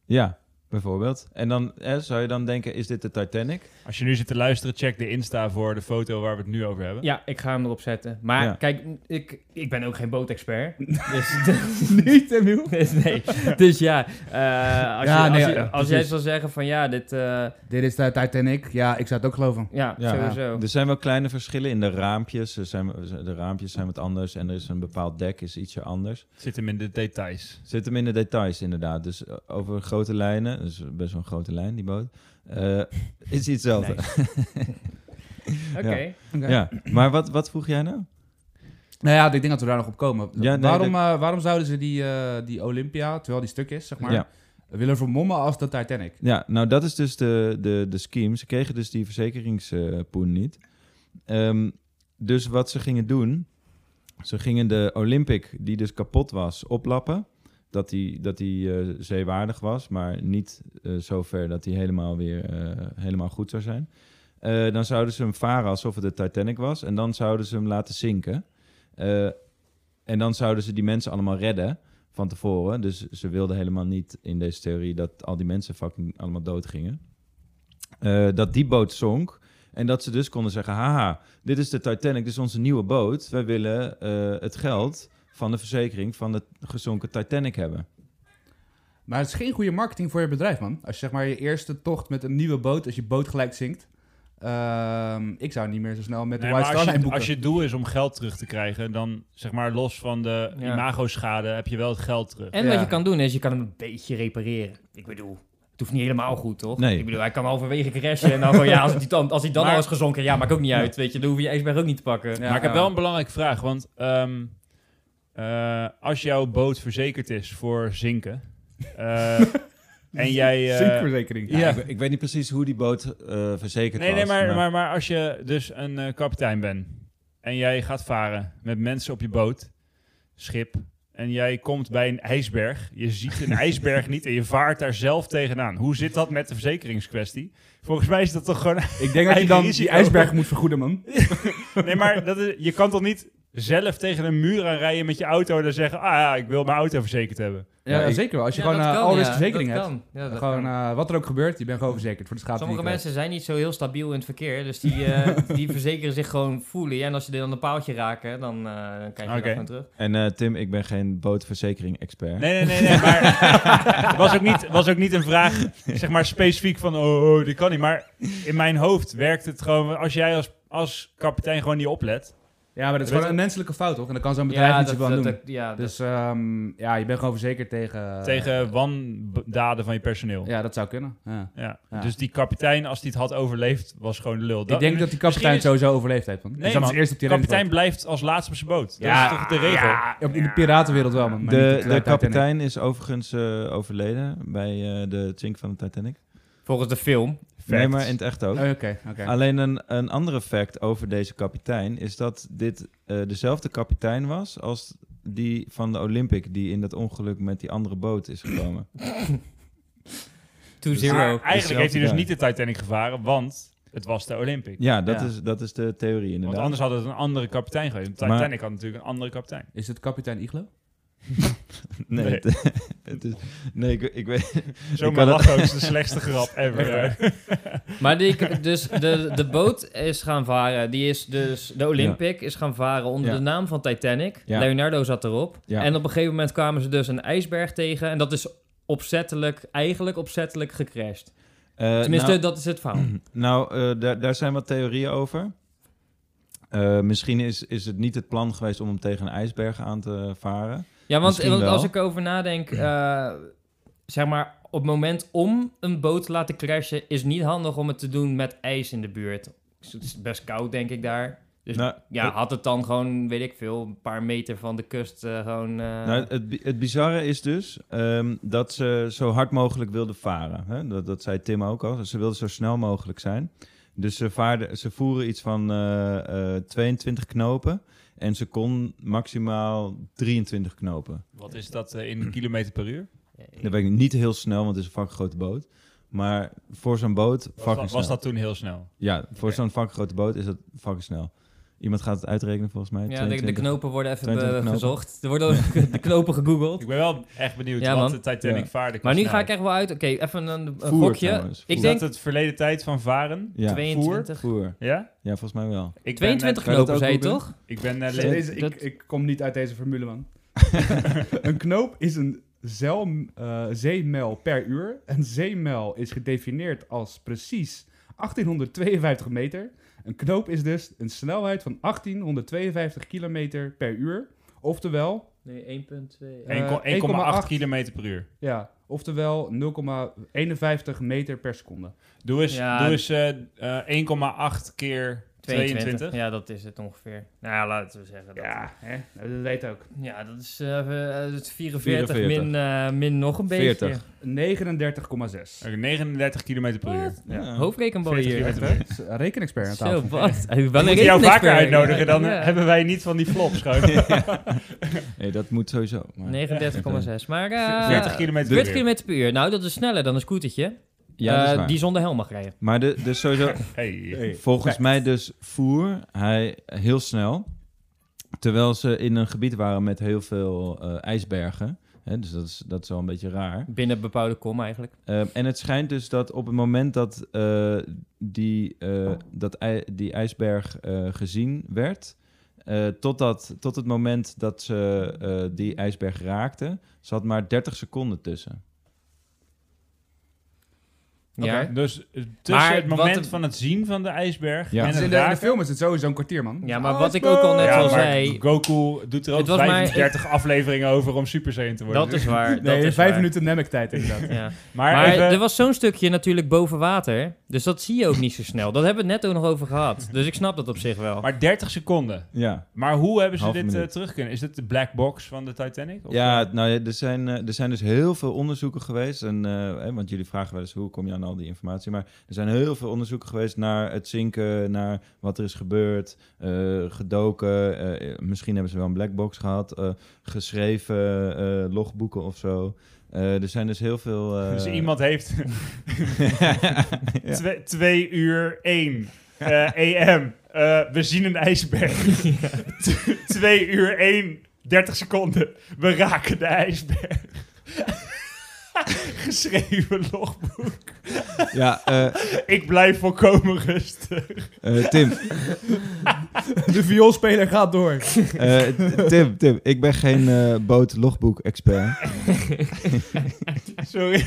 Ja, bijvoorbeeld. En dan eh, zou je dan denken, is dit de Titanic?
Als je nu zit te luisteren, check de Insta voor de foto waar we het nu over hebben.
Ja, ik ga hem erop zetten. Maar
Ja.
kijk, ik, ik ben ook geen bootexpert. dus,
Niet, Emiel?
dus nee. Dus ja, eh, als,
Ja,
je,
nee,
als, je-
ja,
als jij
precies.
zou zeggen van ja, dit... eh,
Dit is de Titanic. Ja, ik zou het ook geloven.
ja,
Ja.
sowieso.
dus-
Er zijn wel kleine verschillen in de raampjes. Er zijn, de raampjes zijn wat anders en er is een bepaald dek, is ietsje anders.
Het Zit hem in de details.
Zit hem in de details inderdaad. Dus eh, over grote lijnen, dus best wel een grote lijn die boot, eh, is iets hetzelfde.
Oké.
Oké.
Ja, maar wat, wat vroeg jij nou?
Nou ja, ik denk dat we daar nog op komen.
Ja, nee,
waarom, eh, waarom zouden ze die, eh, die Olympia, terwijl die stuk is, zeg maar,
Ja.
willen vermommen als de Titanic?
Ja, nou dat is dus de, de, de scheme. Ze kregen dus die verzekeringspoen niet. Ehm, dus wat ze gingen doen, ze gingen de Olympic, die dus kapot was, oplappen. Dat die, dat die eh, zeewaardig was, maar niet eh, zover dat die helemaal weer eh, helemaal goed zou zijn. Eh, dan zouden ze hem varen alsof het de Titanic was en dan zouden ze hem laten zinken. Eh, en dan zouden ze die mensen allemaal redden van tevoren. Dus ze wilden helemaal niet in deze theorie dat al die mensen fucking allemaal doodgingen. Eh, dat die boot zonk. En dat ze dus konden zeggen: haha, dit is de Titanic, dit is onze nieuwe boot. Wij willen eh, het geld van de verzekering van de gezonken Titanic hebben.
Maar het is geen goede marketing voor je bedrijf, man. Als je zeg maar je eerste tocht met een nieuwe boot, als je boot gelijk zinkt. Ehm, ik zou niet meer zo snel met de
Nee, maar
White Star
als,
Line
je,
boeken.
als je doel is om geld terug te krijgen, dan zeg maar los van de
Ja.
imago-schade heb je wel het geld terug.
En
Ja.
wat je kan doen is, je kan hem een beetje repareren. Ik bedoel, het hoeft niet helemaal goed, toch?
Nee.
Ik bedoel, hij kan halverwege crashen en dan van, ja, als hij dan, als hij dan
Maar-
al is gezonken, ja, maakt ook niet uit, weet je. Dan hoef je je ijsberg ook niet te pakken.
Ja.
maar ik heb wel een belangrijke vraag, want ehm, eh, als jouw boot verzekerd is voor zinken eh, en jij... eh,
Zinkverzekering.
Ja.
Ik, weet niet precies hoe die boot eh, verzekerd
nee,
was.
nee, maar, maar, maar als je dus een eh, kapitein bent en jij gaat varen met mensen op je boot, schip, en jij komt bij een ijsberg, je ziet een ijsberg niet en je vaart daar zelf tegenaan. Hoe zit dat met de verzekeringskwestie? Volgens mij is dat toch gewoon
Ik denk dat je
Eigen
dan die
risico.
ijsberg moet vergoeden, man.
Nee, maar dat is, je kan toch niet zelf tegen een muur aan rijden met je auto en dan zeggen: Ah ja, ik wil mijn auto verzekerd hebben.
Ja,
ik-
zeker wel. Als je gewoon eh, al deze verzekering hebt. Gewoon, eh, wat er ook gebeurt, je bent gewoon verzekerd voor de eh. schade. die
Sommige
je krijgt.
mensen zijn niet zo heel stabiel in het verkeer, dus die, eh, die verzekeren zich gewoon voelie. En als je dan een paaltje raken, dan eh, dan krijg je
Oké.
dat gewoon terug.
En eh, Tim, ik ben geen bootverzekering-expert.
Nee, nee, nee, nee. Maar het was ook niet, was ook niet een vraag, zeg maar specifiek van: Oh, oh, dit kan niet. Maar in mijn hoofd werkt het gewoon. Als jij als, als kapitein gewoon niet oplet,
Ja, maar dat
Weet
is gewoon
je-
een menselijke fout, toch? En daar kan zo'n bedrijf niet zoveel aan doen.
ja,
dus ehm, ja, je bent gewoon verzekerd tegen...
Tegen wandaden van je personeel. Ja.
Ah, Ja, dat zou kunnen. Ja. Ja.
Dus die kapitein, als hij het had overleefd, was gewoon de lul.
Ik denk dat die kapitein
misschien
sowieso overleefd heeft, man.
Nee,
Die zat als
man.
eerste op die
De kapitein blijft als laatste op zijn boot.
Ja,
dat is toch de regel?
Ja, op- in de piratenwereld wel, man. maar niet op
De, de
Titanic.
kapitein is overigens eh, overleden bij eh, de chink van de Titanic.
volgens de film.
Nee, maar in het echt ook.
Oh, Oké, oké.
Alleen een, een andere fact over deze kapitein is dat dit eh, dezelfde kapitein was als die van de Olympic die in dat ongeluk met die andere boot is gekomen.
To
Dus-
Maar
Zero.
eigenlijk heeft hij dus
guy.
niet de Titanic gevaren, want het was de Olympic.
ja, dat,
Ja.
Is, dat is de theorie
Want
inderdaad.
anders had het een andere kapitein geweest. De
Maar-
Titanic had natuurlijk een andere kapitein.
Is het kapitein Iglo?
nee,
Nee.
Het, het is, nee ik, ik weet...
Zomaar
had
lachen ook is de slechtste grap ever. eh.
Maar die, dus de, de boot is gaan varen. Die is dus, de Olympic is gaan varen onder
Ja.
de naam van Titanic.
Ja.
Leonardo zat erop.
Ja.
En op een gegeven moment kwamen ze dus een ijsberg tegen. En dat is opzettelijk, eigenlijk opzettelijk gecrashed.
eh,
Tenminste,
nou-
dat is het verhaal.
Nou, eh, daar, daar zijn wat theorieën over. Eh, misschien is, is het niet het plan geweest om hem tegen een ijsberg aan te varen.
Ja, want,
Misschien
want
wel. Mm.
als ik erover nadenk, eh, zeg maar, op het moment om een boot te laten crashen, is niet handig om het te doen met ijs in de buurt. Dus het is best koud, denk ik, daar. Dus
nou,
ja, had het dan gewoon, weet ik veel, een paar meter van de kust eh, gewoon... eh,
Nou, het, bi- het bizarre is dus ehm, dat ze zo hard mogelijk wilden varen. Hè? Dat, dat zei Tim ook al. Ze wilden zo snel mogelijk zijn. Dus ze, vaarden, ze voeren iets van eh, eh, 22 knopen. En ze kon maximaal 23 knopen.
Wat is dat eh, in kilometer per uur?
Dat ben ik niet heel snel, want het is een fucking grote boot. Maar voor zo'n boot,
Was
fucking
dat,
snel.
was dat toen heel snel?
Ja, voor
Oké.
zo'n fucking grote boot is dat fucking snel. Iemand gaat het uitrekenen volgens mij.
ja, de, de
22.
knopen worden even
22
eh,
knopen.
gezocht. Er worden de knopen gegoogeld.
Ik ben wel echt benieuwd
Ja,
wat
man.
de Titanic
Ja.
vaarde
Maar nu ga ik echt wel uit. Oké, even een, een
Voer
gokje.
trouwens,
Ik
voer.
denk...
denk
dat het verleden tijd van varen?
Ja,
22.
voer.
Ja?
Ja, volgens mij wel.
Ik ben net-
22
Kan je dat
knopen,
ook
zei je
googlen?
toch?
ik ben net
Ja,
lid.
deze-
dat-
ik, ik kom niet uit deze formule, man. een knoop is een zeil, eh, zeemijl per uur. Een zeemijl is gedefinieerd als precies 1852 meter. Een knoop is dus een snelheid van 1852 kilometer per uur. Oftewel,
Nee, 1,2.
Eh,
1,8
1,8
kilometer per uur.
ja, oftewel 0,51 meter per seconde.
Doe eens,
Ja.
doe eens eh, eh, 1,8 keer 22.
Ja, dat is het ongeveer. Nou ja, laten we zeggen. Dat. Ja.
Ja, hè? Nou, dat weet ook.
dat is eh, eh, dat is 44,
44.
Min, eh, min nog een
40.
beetje.
39,6.
Oké, 39 kilometer per uur.
Ja.
Hoofdrekenboy
40
hier.
kilometer per uur.
S- Rekenexpert aan
Zo,
tafel.
wat? Hij
We
wel een
moeten jou vaker
rekenexpert.
uitnodigen, dan eh,
Ja.
hebben wij niet van die flops. gewoon.
Nee, dat moet sowieso. Maar...
39,6. Maar eh
40 kilometer per
40
uur.
kilometer per uur. Nou, dat is sneller dan een scootertje.
Ja, dat is
Eh,
waar.
die zonder helm mag rijden.
Maar de, dus sowieso,
Hey.
volgens mij dus voer hij heel snel. Terwijl ze in een gebied waren met heel veel eh, ijsbergen. Hè, dus dat is, dat is wel een beetje raar.
Binnen bepaalde kom eigenlijk.
Ehm, en het schijnt dus dat op het moment dat, eh, die, eh, dat ij- die ijsberg eh, gezien werd... eh, tot, dat, tot het moment dat ze eh, die ijsberg raakten, zat maar 30 seconden tussen.
Ja.
Oké, Dus eh, tussen
Maar
het
wat
moment
het-
van het zien van de ijsberg
Ja.
en
Dus
het
in, de, in de
raken...
film is het sowieso een kwartier, man.
Ja, maar wat ik ook al net
Ja,
al
maar
zei...
Goku doet er ook
Het was maar-
35 afleveringen over om Super Saiyan te worden.
Dat is waar. dat
Nee,
is
vijf
waar.
minuten Namek tijd inderdaad.
Ja.
Maar,
Maar
even-
er was zo'n stukje natuurlijk boven water. Dus dat zie je ook niet zo snel. Dat hebben we het net ook nog over gehad. Dus ik snap dat op zich wel.
maar 30 seconden.
Ja,
Maar hoe hebben ze
Halve
dit eh,
minuut.
terug kunnen? Is dit de black box van de Titanic? Of,
ja
eh,
nou, ja, er, zijn, eh, er zijn dus heel veel onderzoeken geweest. En, eh, hè, want jullie vragen wel eens hoe kom je aan al die informatie. Maar er zijn heel veel onderzoeken geweest naar het zinken, naar wat er is gebeurd, eh, gedoken. eh, misschien hebben ze wel een black box gehad, eh, geschreven eh, logboeken of zo. Eh, er zijn dus heel veel. eh,
dus iemand heeft
Ja.
2 uur 1 AM. Eh, we zien een ijsberg. 2 uur 1, 30 seconden. We raken de ijsberg. Geschreven logboek.
Ja, eh,
Ik blijf volkomen rustig.
eh, Tim,
De vioolspeler gaat door.
eh, Tim, Tim, ik ben geen eh, boot-logboek-expert.
Sorry.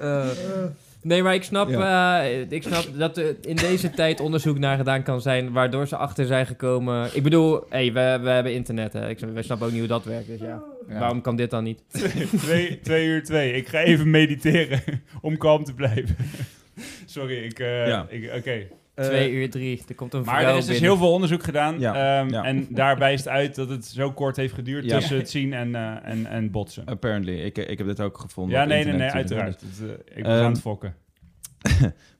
Eh.
Nee, maar ik snap, eh, ik snap dat er in deze tijd onderzoek naar gedaan kan zijn... waardoor ze achter zijn gekomen... Ik bedoel, hey, we, we hebben internet, hè. Ik, snap- we snappen ook niet hoe dat werkt, dus ja. Waarom kan dit dan niet?
twee, twee uur twee. Ik ga even mediteren om kalm te blijven. Sorry, ik... eh,
Ja.
ik Oké.
Eh,
Twee uur drie, er komt een
Maar
vrouw
er is dus
binnen.
heel veel onderzoek gedaan.
Ja,
ehm,
ja.
En daar wijst uit dat het zo kort heeft geduurd
Ja.
tussen het zien en, eh, en, en botsen.
Apparently. Ik, ik heb dit ook gevonden.
ja,
op
nee, nee,
internet
nee,
natuurlijk.
uiteraard. Het, eh, ik was
Ehm,
aan het fokken.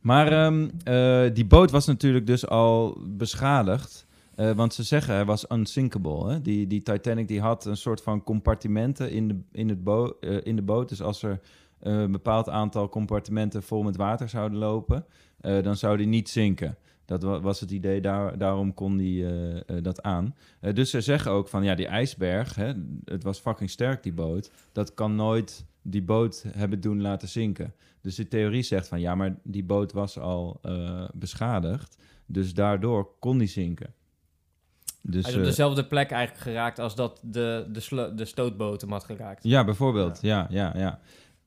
Maar ehm, eh, die boot was natuurlijk dus al beschadigd. eh, want ze zeggen hij was unsinkable. Hè? Die, die Titanic die had een soort van compartimenten in de, in het bo eh, in de boot. Dus als er eh, een bepaald aantal compartimenten vol met water zouden lopen, eh, dan zou die niet zinken. Dat wa- was het idee, daar, daarom kon die eh, eh, dat aan. Eh, dus ze zeggen ook van ja, die ijsberg, hè, het was fucking sterk die boot. Dat kan nooit die boot hebben doen laten zinken. Dus de theorie zegt van ja, maar die boot was al eh, beschadigd. Dus daardoor kon die zinken. Dus,
Hij is op
eh,
dezelfde plek eigenlijk geraakt als dat de, de, slo- de stootboot hem had geraakt.
ja, bijvoorbeeld. Ja, ja, ja.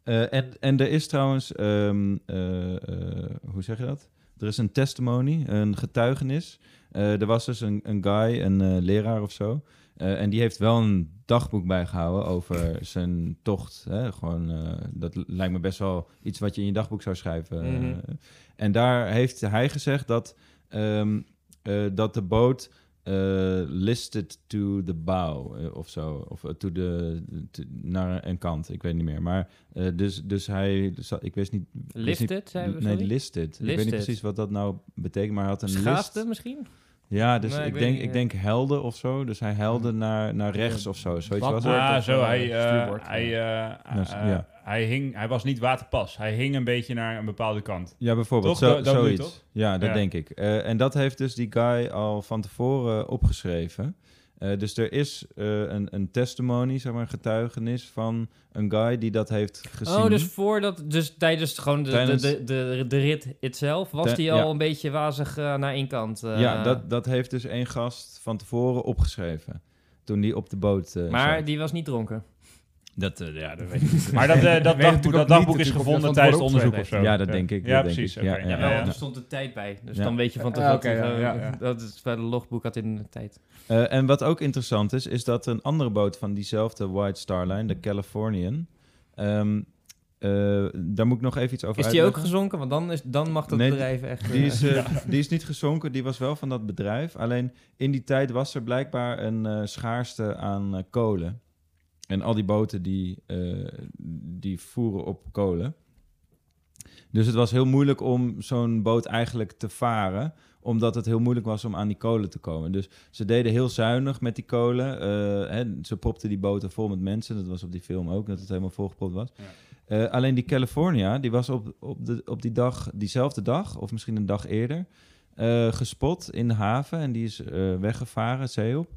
Eh, en, en er is trouwens, ehm, eh, eh, hoe zeg je dat? Er is een testimony, een getuigenis. Eh, er was dus een, een guy, een eh, leraar of zo. Eh, en die heeft wel een dagboek bijgehouden over zijn tocht. Hè? Gewoon, eh, dat lijkt me best wel iets wat je in je dagboek zou schrijven.
Mhm.
Eh, en daar heeft hij gezegd dat, ehm, eh, dat de boot eh, listed to the bow eh, of zo. Of eh, to the, to- naar een kant, ik weet niet meer. Maar eh, dus, dus hij, ik wist niet... wist niet-
Lifted, zeiden we,
Nee,
sorry?
listed. Ik weet
Listed.
niet precies wat dat nou betekent, maar hij had een list.
Schaafde misschien?
Ja, dus
Nee, ik
ik,
weet
denk,
niet,
ik
eh.
denk helden of zo. Dus hij helde naar, naar rechts of zo. Zoiets was
Bakboord.
het.
Ah,
of,
zo.
eh,
Hij, eh,
stuurboord,
hij, eh,
Dus,
eh,
ja.
hij, hing, hij was niet waterpas. Hij hing een beetje naar een bepaalde kant.
Ja, bijvoorbeeld.
Toch?
zo,
Dat- dat bedoel je
zoiets.
toch?
Ja, dat
Ja.
denk ik. Eh, en dat heeft dus die guy al van tevoren opgeschreven. Eh, dus er is eh, een, een testimony, zeg maar, een getuigenis van een guy die dat heeft gezien.
Oh, dus voordat, dus tijdens gewoon de,
Tijdens-
de, de, de, de rit itself, was
Tij-
die al
ja.
een beetje wazig eh, naar één kant. eh.
ja, dat, dat heeft dus één gast van tevoren opgeschreven. Toen die op de boot eh,
Maar
zat.
die was niet dronken.
Dat, eh, ja, dat weet
Maar dat, eh, dat,
natuurlijk
dagboek,
ook
dat dagboek
niet
is
natuurlijk of je
gevonden
dat
tijdens het
van
onderzoek
tevoren
of zo.
Ja, dat denk ik,
Ja,
dat denk
precies.
ik.
oké.
Ja,
Ja,
ja,
Ja,
ja,
wel,
ja.
er stond de tijd bij. Dus
Ja.
dan weet je van
Ah,
tevoren.
oké, ja,
eh,
ja, ja.
Dat is bij de logboek had in de tijd.
Eh, en wat ook interessant is, is dat een andere boot van diezelfde White Star Line,
Mm.
de Californian, ehm, eh, daar moet ik nog even iets over
Is die ook
uitleggen.
gezonken? Want dan, is, dan mag dat
Nee,
bedrijf echt...
Die
eh,
is, eh, die is niet gezonken, die was wel van dat bedrijf. Alleen in die tijd was er blijkbaar een eh, schaarste aan eh, kolen. En al die boten die, eh, die voeren op kolen. Dus het was heel moeilijk om zo'n boot eigenlijk te varen omdat het heel moeilijk was om aan die kolen te komen. Dus ze deden heel zuinig met die kolen. eh, hè, ze propten die boten vol met mensen. Dat was op die film ook, dat het helemaal volgepropt was. Eh, alleen die California, die was op, op, de, op die dag, diezelfde dag, of misschien een dag eerder, eh, gespot in de haven. En die is eh, weggevaren, zee op.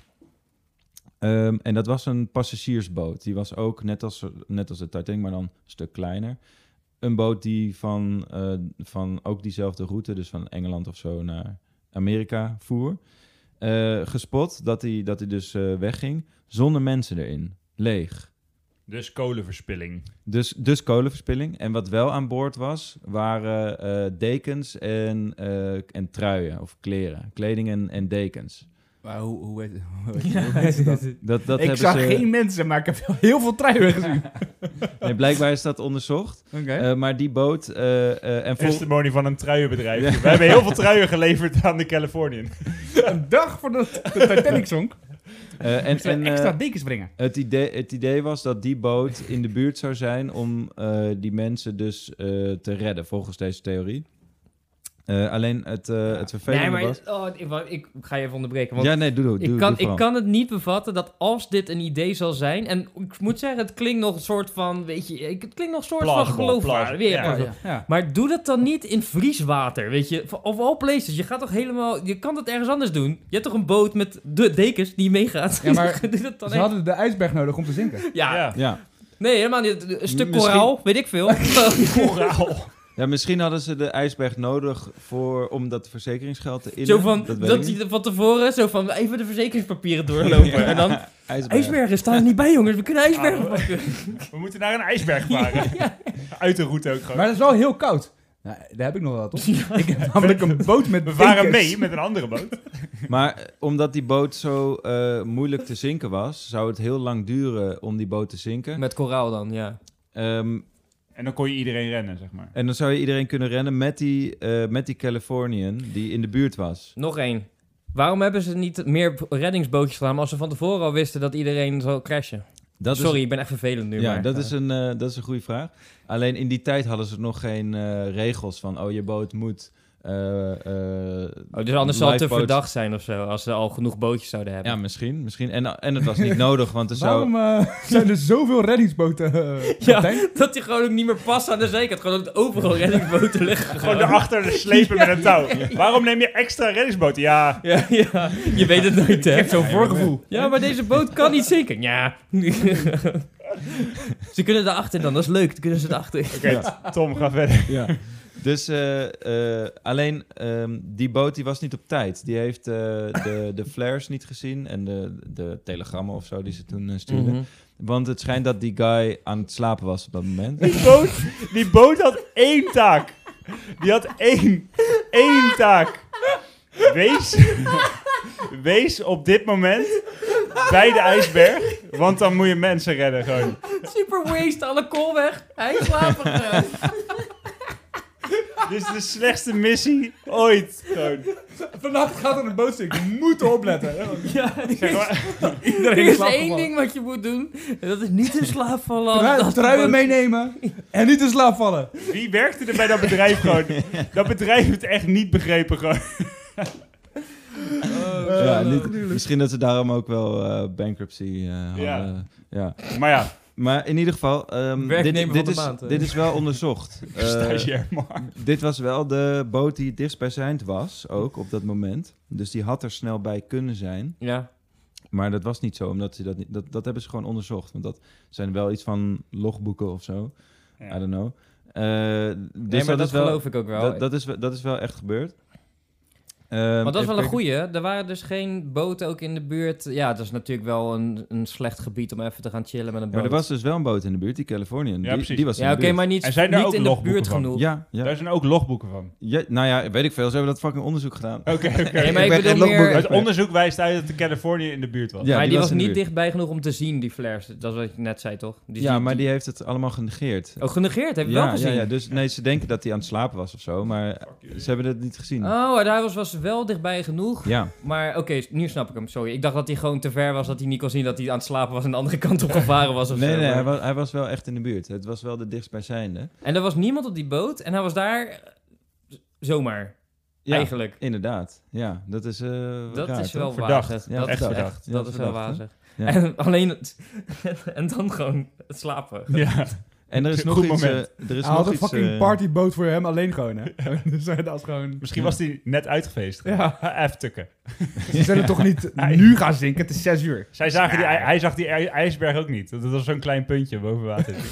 Ehm, en dat was een passagiersboot. Die was ook, net als, net als de Titanic, maar dan een stuk kleiner. Een boot die van, eh, van ook diezelfde route, dus van Engeland of zo naar Amerika voer. Eh, gespot dat hij dat die dus eh, wegging zonder mensen erin. Leeg.
Dus kolenverspilling.
Dus, dus kolenverspilling. En wat wel aan boord was, waren eh, dekens en, eh, en truien of kleren. Kleding en, en dekens.
Maar hoe, hoe, heet- hoe heet- hoe heet dat?
Dat, dat
ik
hebben
zag
ze,
geen mensen, maar ik heb wel heel veel truien gezien. Oké.
Nee, blijkbaar is dat onderzocht. Eh, maar die boot... eh, eh, en vol-
Testimony van een truienbedrijf. We hebben heel veel truien geleverd aan de Californian.
Een dag voordat de Titanic zonk,
eh, en,
moesten
en,
we
eh,
extra dekens brengen.
het, idee, het idee was dat die boot in de buurt zou zijn om eh, die mensen dus eh, te redden, volgens deze theorie. Eh, alleen het, eh, het vervelende
nee, maar
was...
oh, ik, wa- ik ga je even onderbreken. Want
ja, nee, doe, doe, doe,
ik, kan,
doe
ik
vooral.
kan het niet bevatten dat als dit een idee zal zijn... En ik moet zeggen, het klinkt nog een soort van... Weet je, ik- het klinkt nog een soort van
Plausible,
geloofwaardig.
plausible.
Weer
Ja,
plausible.
Ja. Ja.
Maar doe dat dan niet in vrieswater, weet je? Van- Of all places. Je gaat toch helemaal... Je kan dat ergens anders doen? Je hebt toch een boot met de dekens die meegaat?
Ja, maar
doe dat dan
Ze
echt-
hadden de ijsberg nodig om te zinken.
Ja.
Ja.
Ja.
nee, helemaal niet. Een stuk
Misschien-
koraal, weet ik veel.
Koraal.
Ja, misschien hadden ze de ijsberg nodig voor, om dat verzekeringsgeld te innen.
zo van, dat,
dat weet ik niet.
die van tevoren, zo van, even de verzekeringspapieren doorlopen. En dan,
ijsberg.
ijsbergen staan er niet bij, jongens. We kunnen ijsbergen
Ah,
pakken.
We moeten naar een ijsberg varen. Uit de route ook gewoon.
Maar het is wel heel koud. Nou, daar heb ik nog wel wat op. Ik heb namelijk een boot met
We waren
bekers.
mee met een andere boot.
Maar eh, omdat die boot zo eh, moeilijk te zinken was, zou het heel lang duren om die boot te zinken.
Met koraal dan, ja.
Ehm,
En dan kon je iedereen rennen, zeg maar.
en dan zou je iedereen kunnen rennen met die, eh, met die Californian die in de buurt was.
Nog één. Waarom hebben ze niet meer reddingsbootjes gedaan als ze van tevoren al wisten dat iedereen zou crashen?
Dat
Sorry,
Is,
ik ben echt vervelend nu.
ja,
maar,
dat,
eh,
is een, eh, dat is een goede vraag. Alleen in die tijd hadden ze nog geen eh, regels van, oh, je boot moet... eh, eh,
Oh, dus anders zou het te
lifeboats-
verdacht zijn of zo, als ze al genoeg bootjes zouden hebben.
Ja, misschien. misschien. En, en het was niet nodig, want er zou...
Waarom eh, zijn er zoveel reddingsboten, eh,
Ja.
kapitein?
Dat die gewoon ook niet meer past aan de zekerheid. Gewoon dat overal reddingsboten liggen.
Gewoon daarachter de slepen met een touw. Waarom neem je extra reddingsboten? Ja,
Ja, ja, je weet het nooit,
Ik
hè?
heb zo'n voorgevoel.
Ja, maar deze boot kan niet zinken. Ja. ze kunnen erachter dan, dat is leuk. Dan kunnen ze erachter.
oké, Tom, ga verder.
Ja. Dus eh, eh, alleen ehm, die boot die was niet op tijd. Die heeft eh, de, de flares niet gezien en de, de telegrammen of zo die ze toen eh, stuurden.
Mhm.
Want het schijnt dat die guy aan het slapen was op dat moment.
Die boot, die boot had één taak. Die had één, één taak. Wees, wees op dit moment bij de ijsberg, want dan moet je mensen redden gewoon.
Super waste, alle kool weg. Hij is slaperig.
Dit is de slechtste missie ooit. Gewoon.
Vannacht gaat er een boot zinken. We moeten opletten.
ja, er
Zeg
is,
maar,
er
Iedereen
is
slaapt
één
gewoon.
ding wat je moet doen. En dat is niet in slaap vallen. als
Trui-
dat
Truien
boot-
meenemen en niet in slaap vallen.
wie werkte er bij dat bedrijf gewoon? Dat bedrijf heeft echt niet begrepen gewoon.
Eh.
ja, niet- misschien dat ze daarom ook wel eh, bankruptcy eh, hadden.
Ja.
Ja.
Maar ja,
Maar in ieder geval, ehm, dit,
Werknemer van
dit,
de
is,
maand, hè.
dit is wel onderzocht. Eh,
stagiair maar.
dit was wel de boot die het dichtstbijzijnd was, ook op dat moment. Dus die had er snel bij kunnen zijn.
Ja.
Maar dat was niet zo, omdat ze dat niet. Dat, dat hebben ze gewoon onderzocht. Want dat zijn wel iets van logboeken of zo.
Ja.
I don't know. Eh, dus
Nee, maar dat,
is wel,
geloof ik ook wel.
Dat, dat, is, wel- dat is wel echt gebeurd. Ehm,
Maar dat is
even
wel een
kijken.
goeie. Er waren dus geen boten ook in de buurt. Ja, dat is natuurlijk wel een, een slecht gebied om even te gaan chillen met een
Ja,
boot.
maar er was dus wel een boot in de buurt, die Californian.
Ja,
die,
precies.
Die was in
ja,
de
oké,
buurt.
maar niet,
En zijn daar
niet
ook
in de
logboeken
buurt
van?
genoeg.
Ja, ja.
Daar zijn ook logboeken van.
ja, nou ja, weet ik veel. Ze hebben dat fucking onderzoek gedaan.
Oké, oké.
Nee, maar ik
ben geen
bedoel meer-
logboeken
Het onderzoek wijst uit dat de Californië in de buurt was.
Ja,
maar die,
die was
was,
in de
niet
buurt.
dichtbij genoeg om te zien, die flares. Dat is wat je net zei, toch? Die
Ja,
zie-
maar die heeft het allemaal genegeerd.
Oh, genegeerd, heb je
ja,
wel gezien?
Ja, ja, dus nee, ze denken dat hij aan het slapen was of zo, maar ze hebben het niet gezien.
Oh, en hij was, was wel dichtbij genoeg.
Ja.
Maar oké, nu snap ik hem, sorry. Ik dacht dat hij gewoon te ver was, dat hij niet kon zien dat hij aan het slapen was en de andere kant op gevaren was of
Nee,
zo.
nee,
maar-
hij was, hij was wel echt in de buurt. Het was wel de dichtstbijzijnde.
En er was niemand op die boot en hij was daar eh, z- zomaar,
Ja,
eigenlijk.
Inderdaad, ja, dat is. eh,
Dat
raar,
is
toch?
wel
Verdacht.
wazig.
Ja,
dat
echt
is
verdacht.
echt-
Ja,
dat is wel
verdacht, hè?
wazig.
Ja.
En alleen... het- en dan gewoon het slapen.
Ja.
En er is
Goed
nog iets. eh,
moment.
er
Hij
is
had
nog
een
iets.
fucking
eh,
partyboot voor hem alleen gewoon. Hè? dus hij dacht gewoon...
Misschien
Ja.
was hij net uitgefeest.
Ja.
Even tukken.
Ze zullen toch niet nu gaan zinken? Het is zes uur.
Zij zagen die, hij, hij zag die ij- ijsberg ook niet. Dat dat was zo'n klein puntje boven water.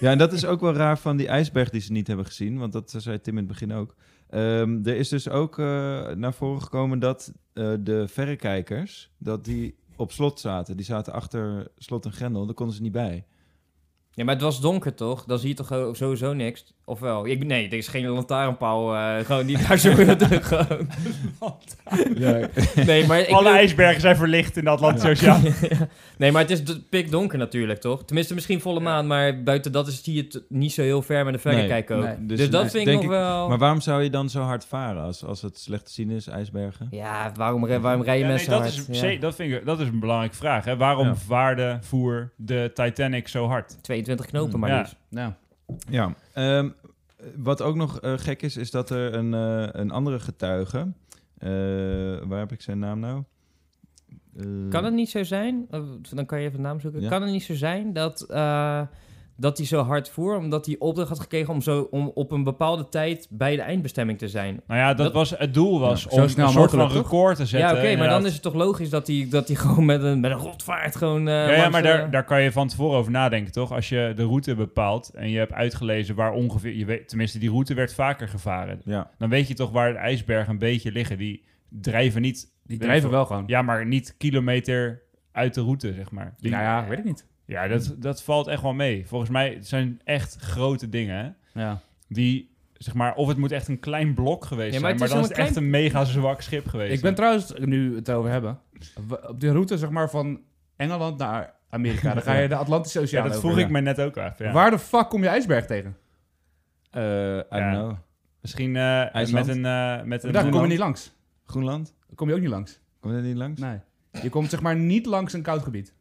Ja, en dat is ook wel raar van die ijsberg die ze niet hebben gezien, want dat zei Tim in het begin ook. Ehm, er is dus ook eh, naar voren gekomen dat eh, de verrekijkers dat die op slot zaten. Die zaten achter slot en grendel, daar konden ze niet bij.
Ja, maar het was donker toch? Dan zie je toch ook sowieso niks? Of wel? Ik, nee, er is geen lantaarnpaal. eh, gewoon die daar zo gewoon. Nee, maar ik
Alle
bedoel-
ijsbergen zijn verlicht in de Atlantische Oceaan.
nee, maar het is d- pikdonker natuurlijk, toch? Tenminste, misschien volle maan, maar buiten dat is, zie je het niet zo heel ver met een verrekijker kijken ook.
nee.
Dus, dat
nee,
vind ik
denk
nog wel...
Maar waarom zou je dan zo hard varen als, als het slecht te zien is, ijsbergen?
Ja, waarom, re- waarom rijden
Ja, nee,
mensen
dat,
hard?
is,
Ja.
ze- dat, vind ik, dat is een belangrijke vraag. Hè? Waarom
Ja.
vaarde, voer de Titanic zo hard?
22 knopen,
Hmm,
maar
ja.
liefst.
Nou.
Ja. Ehm, wat ook nog eh, gek is, is dat er een, eh, een andere getuige. eh, waar heb ik zijn naam nou? Eh,
Hmm.
Kan het niet zo zijn, eh, dan kan je even de naam zoeken.
Ja.
Kan het niet zo zijn dat, eh, dat hij zo hard voer, omdat hij opdracht had gekregen om, zo, om op een bepaalde tijd bij de eindbestemming te zijn?
Nou ja, dat,
Dat-
was, het doel was
Ja,
om
zo
een
snel
soort van
mogelijk, toch?
record te zetten.
ja, oké, maar dan
eh, inderdaad.
is het toch logisch dat hij, dat hij gewoon met een, met een rotvaart gewoon... eh,
Ja, ja,
langs
maar
de-
daar, daar kan je van tevoren over nadenken, toch? Als je de route bepaalt en je hebt uitgelezen waar ongeveer... Je weet, tenminste, die route werd vaker gevaren.
Ja.
Dan weet je toch waar de ijsbergen een beetje liggen. Die drijven niet
Die drijven wel gewoon.
Ja, maar niet kilometer uit de route, zeg maar. Die-
Nou ja, weet ik niet.
Ja, dat, dat valt echt wel mee. Volgens mij zijn echt grote dingen hè,
Ja.
die zeg maar, of het moet echt een klein blok geweest
Ja, maar
zijn,
het
maar
is
dan is
zo'n
het echt een mega zwak schip geweest.
Ik ben trouwens, nu we het over hebben, w- op de route zeg maar van Engeland naar Amerika. Dan ga je de Atlantische
ja,
Oceaan
dat
over.
vroeg ik me net ook af. Ja.
Waar de fuck kom je ijsberg tegen?
Eh, I
Ja.
don't know.
Misschien eh,
IJsland?
met een... eh, met een
Daar kom je
Groenland.
niet langs.
Groenland?
Daar kom je ook niet langs.
Komt dat niet langs?
Nee. Je komt zeg maar niet langs een koud gebied.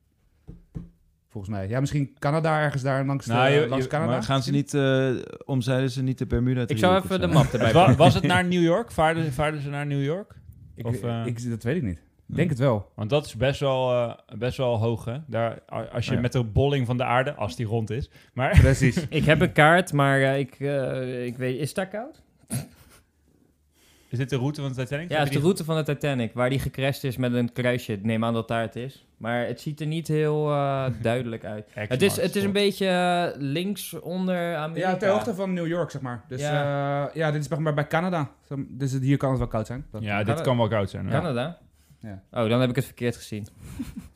Volgens mij. Ja, misschien Canada ergens daar langs, de-
Nou, je-
langs
je-
Canada.
Maar gaan ze niet, eh, omzeilen ze niet de Bermuda
Ik zou
driehoek of
even de
zo?
map erbij
Wa-
pakken.
was het naar New York? Vaarden ze, vaarden ze naar New York?
ik,
of, eh,
ik- dat weet ik niet. Ik
Nee.
denk het wel.
Want dat is best wel, eh, best wel hoog, hè? Daar, a- als je
Ja.
met de bolling van de aarde, als die rond is. Maar
Precies.
Ik heb een kaart, maar eh, ik, eh, ik weet... Is dat koud?
is dit de route van de Titanic?
Ja, het
Heb je
is de
die-
route van de Titanic, waar die gecrashed is met een kruisje. Ik neem aan dat daar het is. Maar het ziet er niet heel eh, duidelijk uit.
X-Marks
Het is, het is een
spot.
beetje eh, links onder Amerika.
Ja, ter hoogte van New York, zeg maar. Dus ja, ja dit is zeg maar bij Canada. Zo- Dus het- hier kan het wel koud zijn. Dat-
Ja, dit
Canada.
kan wel koud zijn. hè?
Canada?
Ja.
Oh, dan heb ik het verkeerd gezien.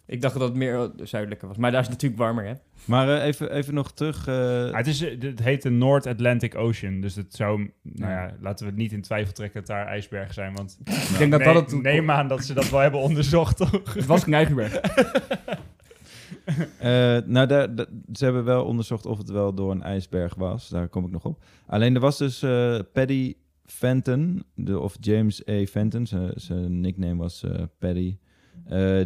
ik dacht dat het meer zuidelijker was. Maar daar is het natuurlijk warmer, hè?
Maar eh, even, even nog terug. eh,
Ah, het, is, eh, dit- het heet de North Atlantic Ocean. Dus het zou, nou
Ja.
ja, laten we het niet in twijfel trekken dat daar ijsbergen zijn. Want
Ik denk dat
nee,
dat het...
neem aan dat ze dat wel hebben onderzocht, toch?
Het was geen Eigerberg.
eh, nou, daar, da- ze hebben wel onderzocht of het wel door een ijsberg was. Daar kom ik nog op. Alleen er was dus eh, Paddy Fenton, de, of James A. Fenton, zijn- zijn nickname was eh, Paddy. Eh,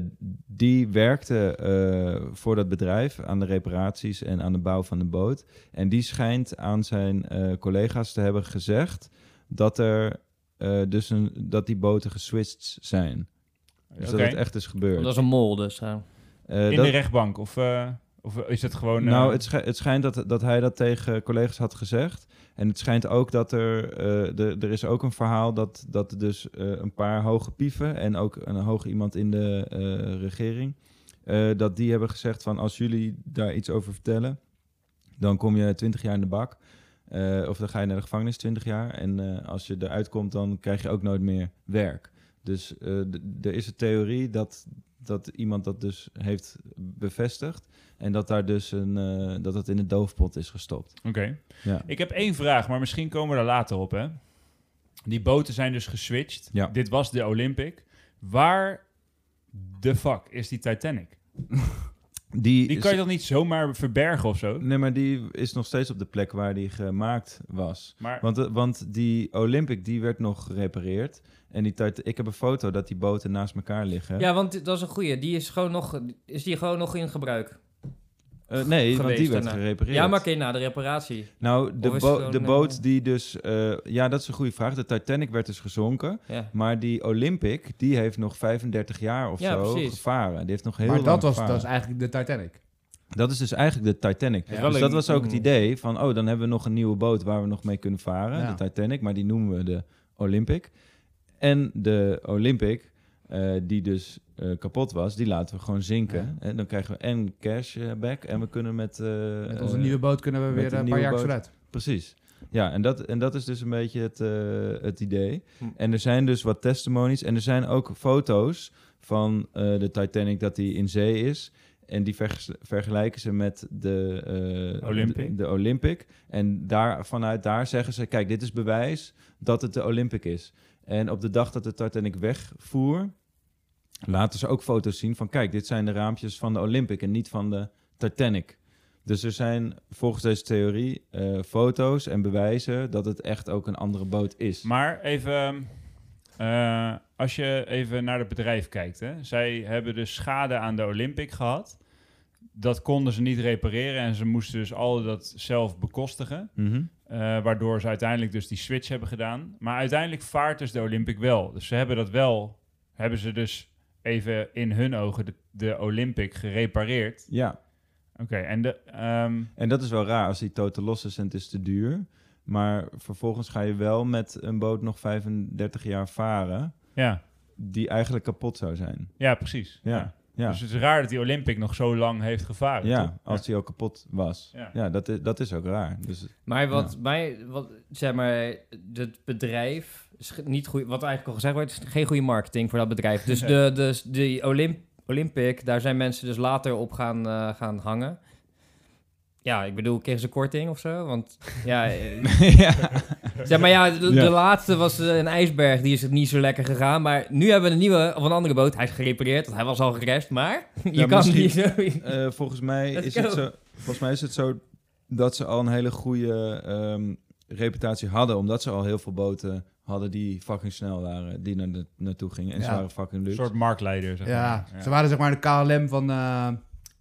die werkte eh, voor dat bedrijf aan de reparaties en aan de bouw van de boot. En die schijnt aan zijn eh, collega's te hebben gezegd dat, er, eh, dus een, dat die boten geswitcht zijn. Dus
Oké.
dat het echt is gebeurd.
Dat is een mol, dus. eh.
Eh,
In
dat-
de rechtbank? Of, eh, of is het gewoon... eh,
Nou, het, schij- het schijnt dat, dat hij dat tegen collega's had gezegd. En het schijnt ook dat er... eh, de- er is ook een verhaal dat, dat er dus eh, een paar hoge pieven... en ook een hoog iemand in de eh, regering... eh, dat die hebben gezegd van als jullie daar iets over vertellen... dan kom je 20 jaar in de bak. Eh, of dan ga je naar de gevangenis 20 jaar. En eh, als je eruit komt, dan krijg je ook nooit meer werk. Dus eh, d- er is een theorie dat, dat iemand dat dus heeft bevestigd... En dat daar dus een, eh, dat het in de doofpot is gestopt.
Oké.
Ja.
Ik heb één vraag, maar misschien komen we er later op, hè? Die boten zijn dus geswitcht.
Ja.
Dit was de Olympic. Waar de fuck is die Titanic?
Die,
Die kan je toch niet zomaar verbergen of zo?
Nee, maar die is nog steeds op de plek waar die gemaakt was.
Maar
Want, eh, want die Olympic, die werd nog gerepareerd. En die Titan- ik heb een foto dat die boten naast elkaar liggen.
Ja, want dat is een goeie. Die is gewoon nog, is die gewoon nog in gebruik.
Eh, nee, want
Geweest
die werd
daarna.
gerepareerd.
Ja, maar oké, na de reparatie.
Nou, de,
Of is
bo-
het gewoon,
de
eh,
boot die dus... eh, ja, dat is een goede vraag. De Titanic werd dus gezonken.
Ja.
Maar die Olympic, die heeft nog 35 jaar of
Ja,
zo
precies.
gevaren. Die heeft nog heel
Maar
lang
dat was, dat
gevaren.
was eigenlijk de Titanic.
Dat is dus eigenlijk de Titanic.
Ja.
Dus
Wel
dat
een-
was ook het
mm.
idee van, oh, dan hebben we nog een nieuwe boot waar we nog mee kunnen varen,
Ja.
de Titanic, maar die noemen we de Olympic. En de Olympic, eh, die dus eh, kapot was, die laten we gewoon zinken. En dan krijgen we en cash eh, back en we kunnen met... eh,
Met onze
eh,
nieuwe boot kunnen we
met
weer
een
een paar
nieuwe
jaar
boot.
vooruit.
Precies. Ja, en dat, en dat is dus een beetje het, eh, het idee.
Hm.
En er zijn dus wat testimonies en er zijn ook foto's van eh, de Titanic dat die in zee is. En die verges- vergelijken ze met de, eh,
Olympic.
de, de Olympic. En daar, vanuit daar zeggen ze, kijk, dit is bewijs dat het de Olympic is. En op de dag dat de Titanic wegvoer, laten ze ook foto's zien van, kijk, dit zijn de raampjes van de Olympic en niet van de Titanic. Dus er zijn volgens deze theorie eh, foto's en bewijzen dat het echt ook een andere boot is.
Maar even, eh, als je even naar het bedrijf kijkt, hè? zij hebben dus schade aan de Olympic gehad. Dat konden ze niet repareren en ze moesten dus al dat zelf bekostigen.
Mhm.
eh, waardoor ze uiteindelijk dus die switch hebben gedaan. Maar uiteindelijk vaart dus de Olympic wel. Dus ze hebben dat wel, hebben ze dus even in hun ogen de, de Olympic gerepareerd.
Ja,
Oké, en de... ehm,
en dat is wel raar als die totaal los is en het is te duur. Maar vervolgens ga je wel met een boot nog 35 jaar varen
ja,
die eigenlijk kapot zou zijn.
ja, precies.
Ja, ja.
Dus het is raar dat die Olympic nog zo lang heeft gevaren. toch?
ja als die al kapot was.
Ja.
Ja, dat is, dat is ook raar. Dus
Maar wat mij, wat, zeg maar, het bedrijf, is ge- niet goed, wat eigenlijk al gezegd wordt, is geen goede marketing voor dat bedrijf. Dus de, de, de Olymp, Olympic, daar zijn mensen dus later op gaan, eh, gaan hangen. Ja, ik bedoel, kregen ze korting of zo? Want ja, eh,
ja.
Zeg maar ja, de, de
Ja.
laatste was eh, een ijsberg, die is het niet zo lekker gegaan. Maar nu hebben we een nieuwe, of een andere boot. Hij is gerepareerd, want hij was al gerest, maar je
Ja,
kan
misschien-
niet zo...
Eh, volgens, mij
Let's
is
go.
het zo, volgens mij is het zo dat ze al een hele goede ehm, reputatie hadden. Omdat ze al heel veel boten hadden die fucking snel waren. Die naar de- naartoe gingen. En ze
Ja.
waren fucking
Een
luxe.
soort marktleider, zeg
Ja,
maar.
ze waren zeg maar de KLM van, eh,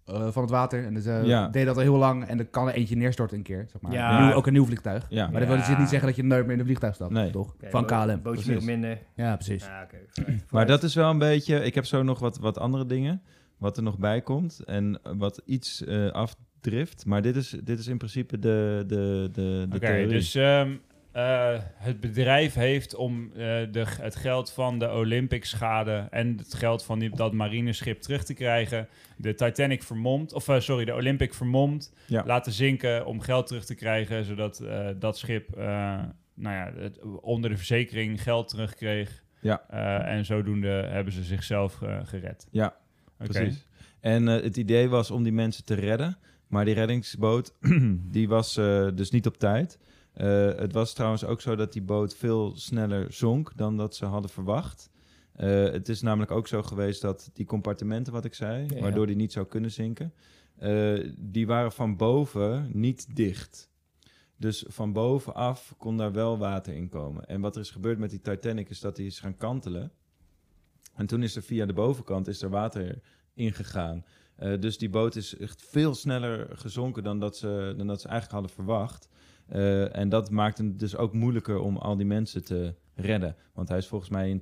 eh, van het water. En ze
Ja.
deden dat al heel lang. En er kan er eentje neerstorten een keer. Zeg maar.
Ja.
Een nieuw- ook een nieuw vliegtuig.
Ja.
Maar dat wil dus niet zeggen dat je nooit meer in een vliegtuig stapt,
Nee.
toch?
Oké,
van
bo-
KLM.
Bootje
Precies.
veel minder.
Ja, precies.
Ja, oké, vooruit,
Maar
vooruit.
dat is wel een beetje... Ik heb zo nog wat, wat andere dingen. Wat er nog bij komt. En wat iets eh, afdrift. Maar dit is, dit is in principe de, de, de, de
Oké,
theorie.
dus ehm, eh, het bedrijf heeft om eh, de, het geld van de Olympic-schade en het geld van die, dat marineschip terug te krijgen, de Titanic vermomd, of eh, sorry, de Olympic vermomd,
Ja.
laten zinken om geld terug te krijgen, zodat eh, dat schip eh, nou ja, het, onder de verzekering geld terugkreeg.
Ja.
Eh, en zodoende hebben ze zichzelf eh, gered.
Ja,
Oké.
Precies. En eh, het idee was om die mensen te redden. Maar die reddingsboot, die was eh, dus niet op tijd. Eh, het was trouwens ook zo dat die boot veel sneller zonk dan dat ze hadden verwacht. Eh, het is namelijk ook zo geweest dat die compartimenten, wat ik zei,
Ja.
waardoor die niet zou kunnen zinken, eh, die waren van boven niet dicht. Dus van bovenaf kon daar wel water in komen. En wat er is gebeurd met die Titanic is dat die is gaan kantelen. En toen is er via de bovenkant is er water ingegaan. Eh, dus die boot is echt veel sneller gezonken dan dat ze, dan dat ze eigenlijk hadden verwacht. Eh, en dat maakt hem dus ook moeilijker om al die mensen te redden. Want hij is volgens mij in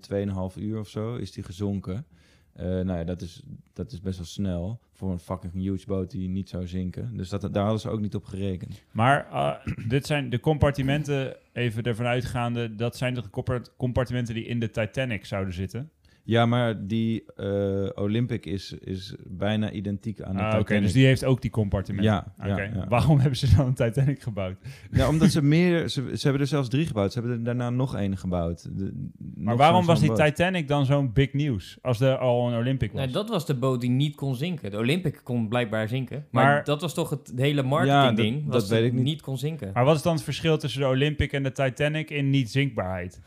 2,5 uur of zo is die gezonken. Eh, nou ja, dat is, dat is best wel snel voor een fucking huge boot die niet zou zinken. Dus dat, daar hadden ze ook niet op gerekend.
Maar eh, dit zijn de compartimenten, even ervan uitgaande, dat zijn de compart- compartimenten die in de Titanic zouden zitten.
Ja, maar die eh, Olympic is, is bijna identiek aan de
Ah, Oké,
Titanic.
dus die heeft ook die compartimenten.
Ja, ja,
Oké.
ja.
Waarom hebben ze dan een Titanic gebouwd?
Ja, omdat ze meer... Ze, ze hebben er zelfs drie gebouwd. Ze hebben er daarna nog één gebouwd. De-
Maar
nog
waarom
zo'n-
was
zo'n
die
boot.
Titanic dan zo'n big nieuws? Als er al een Olympic was.
Nou, dat was de boot die niet kon zinken. De Olympic kon blijkbaar zinken. Maar,
Maar-
dat was toch het hele
Ja,
marketingding.
dat-
ding.
dat
was
weet
het
ik niet.
niet kon zinken.
Maar wat is dan het verschil tussen de Olympic en de Titanic in niet-zinkbaarheid?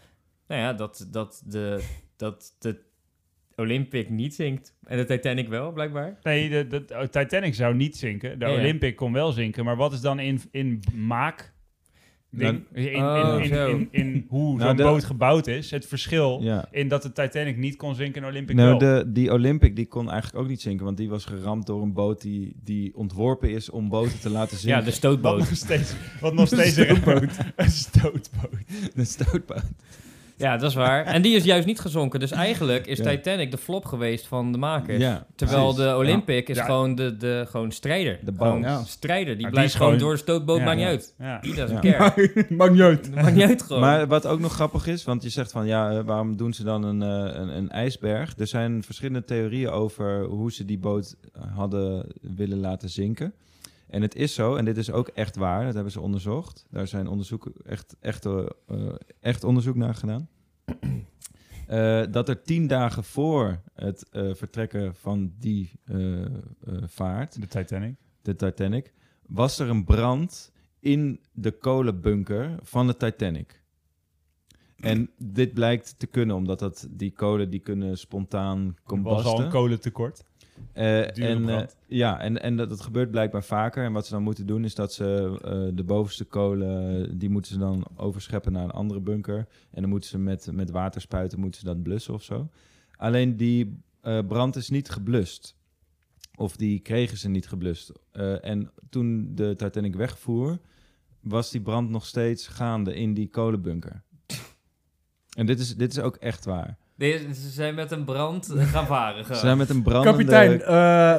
Nou ja, dat, dat, de, dat de Olympic niet zinkt. En de Titanic wel, blijkbaar.
Nee, de, de, de Titanic zou niet zinken. De
Ja, ja.
Olympic kon wel zinken. Maar wat is dan in, in maak... ding? in, in,
Oh,
in,
zo.
in- in hoe
Nou,
zo'n
de-
boot gebouwd is. Het verschil
Ja.
in dat de Titanic niet kon zinken en Olympic wel.
Nou, de, die Olympic die kon eigenlijk ook niet zinken, want die was geramd door een boot die, die ontworpen is om boten te laten
Ja,
zinken.
de
Wat
stootboot.
nog steeds, wat nog steeds een stootboot. een stootboot.
de stootboot.
Ja, dat is waar. En die is juist niet gezonken. Dus eigenlijk is
Ja.
Titanic de flop geweest van de makers.
Ja,
Terwijl
precies.
de Olympic is
Ja.
gewoon de, de gewoon strijder.
De
Gewoon
bounce.
Ja.
strijder. Die
Maar die
blijft
is
gewoon
gewoon-
door de stootboot,
Ja.
maakt niet uit.
Ja.
Die doesn't
Ja.
care.
Maakt niet uit.
maakt niet uit gewoon.
Maar wat ook nog grappig is, want je zegt van ja, eh, waarom doen ze dan een, eh, een, een ijsberg? Er zijn verschillende theorieën over hoe ze die boot hadden willen laten zinken. En het is zo, en dit is ook echt waar, dat hebben ze onderzocht. Daar zijn onderzoeken, echt, echt, eh, eh, echt onderzoek naar gedaan. Eh, dat er tien dagen voor het eh, vertrekken van die eh, eh, vaart
De Titanic.
de Titanic, was er een brand in de kolenbunker van de Titanic. En dit blijkt te kunnen, omdat dat, die kolen die kunnen spontaan
Er was al een
combusten.
kolentekort.
Eh,
dure
en, eh,
brand.
ja, en, en dat, dat gebeurt blijkbaar vaker. En wat ze dan moeten doen, is dat ze eh, de bovenste kolen, die moeten ze dan overscheppen naar een andere bunker. En dan moeten ze met, met waterspuiten moeten ze dat blussen of zo. Alleen die eh, brand is niet geblust. Of die kregen ze niet geblust. Eh, en toen de Titanic wegvoer, was die brand nog steeds gaande in die kolenbunker. En dit is, dit is ook echt waar.
Deze- Ze zijn met een brand eh, gaan varen.
Ze
gewoon.
zijn met een brandende...
Kapitein, eh,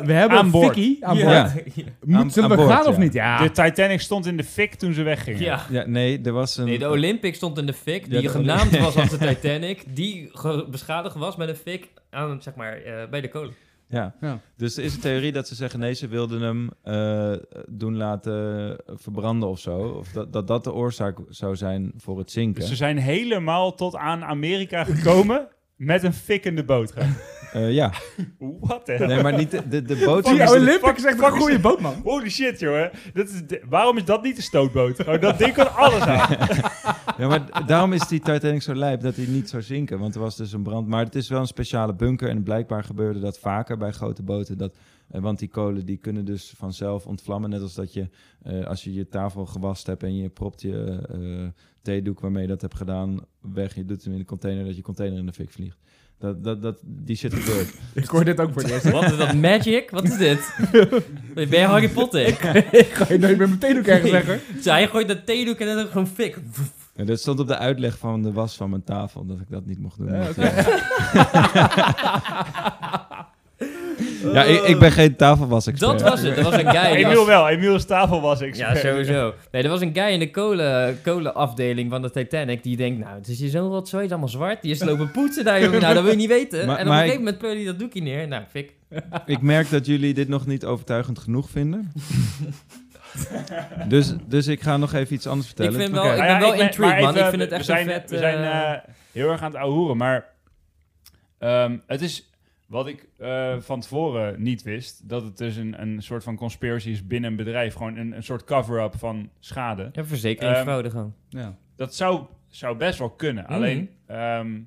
we hebben
Aan
een
boord.
Vicky aan
Ja.
boord.
Ja.
Moeten
Aan- aan
zullen we
boord,
gaan of
ja.
niet? Ja.
De Titanic stond in de fik toen ze weggingen.
Ah. Ja.
Ja, nee, er was een...
Nee, de Olympic stond in de fik,
Ja,
die
de
genaamd was als de Titanic, die ge- beschadigd was met een fik aan, zeg maar, eh, bij de kolen.
Ja.
Ja.
dus er is een theorie dat ze zeggen... nee, ze wilden hem eh, doen laten verbranden of zo. Of dat, dat dat de oorzaak zou zijn voor het zinken.
Dus ze zijn helemaal tot aan Amerika gekomen met een fik in de boot gaan.
Eh, ja,
What the hell?
nee, maar niet de, de, de boot.
Fuck
Die
is-
Olympics is echt een
fuck is-
goede boot, man.
Holy shit, jongen. Dat is de- waarom is dat niet de stootboot? Gewoon dat ding kan alles aan.
Ja, maar daarom is die Titanic zo lijp dat hij niet zou zinken. Want er was dus een brand. Maar het is wel een speciale bunker. En blijkbaar gebeurde dat vaker bij grote boten. Dat, eh, want die kolen die kunnen dus vanzelf ontvlammen. Net als dat je eh, als je je tafel gewast hebt en je propt je eh, theedoek waarmee je dat hebt gedaan weg. Je doet hem in de container, dat je container in de fik vliegt. Dat, dat, dat, die shit gebeurt.
Ik hoor dit ook voor het eerst.
Wat is dat? Magic? Wat is dit? Ben je Harry Potter?
Ik ga je nooit meer meteen ook ergens leggen.
Zo, hij gooit dat theedoek en dan gewoon fik.
En dat stond op de uitleg van de was van mijn tafel dat ik dat niet mocht doen.
Ja,
Want,
oké.
eh, ja, ik, ik ben geen tafelwas-expert.
Dat was het. Dat was een guy. die
Emiel
was-
wel. Emiel is tafelwas
Ja, sowieso. Nee, er was een guy in de kolen, kolenafdeling van de Titanic die denkt, nou, het is hier zo'n rotzooi, het is allemaal zwart. Die is lopen poetsen daar, jongen. Nou, dat wil je niet weten.
Maar-
en op
maar
een
ik-
gegeven moment pleurde hij dat doekje neer. Nou, fik.
Ik merk dat jullie dit nog niet overtuigend genoeg vinden. dus, dus ik ga nog even iets anders
Ik,
vertellen.
vind wel,
Oké.
ik
Nou ja,
ben wel
ben-
intrigued,
maar
man.
even,
ik vind het
we
echt
zijn,
een vet...
We zijn
eh,
eh, heel erg aan het ouwehoeren, maar ehm, het is wat ik eh, van tevoren niet wist, dat het dus een, een soort van conspiracy is binnen een bedrijf. Gewoon een, een soort cover-up van schade.
ja,
ehm,
verzekeringsfraude gewoon.
Ja.
Dat zou, zou best wel kunnen.
Mhm.
Alleen, ehm,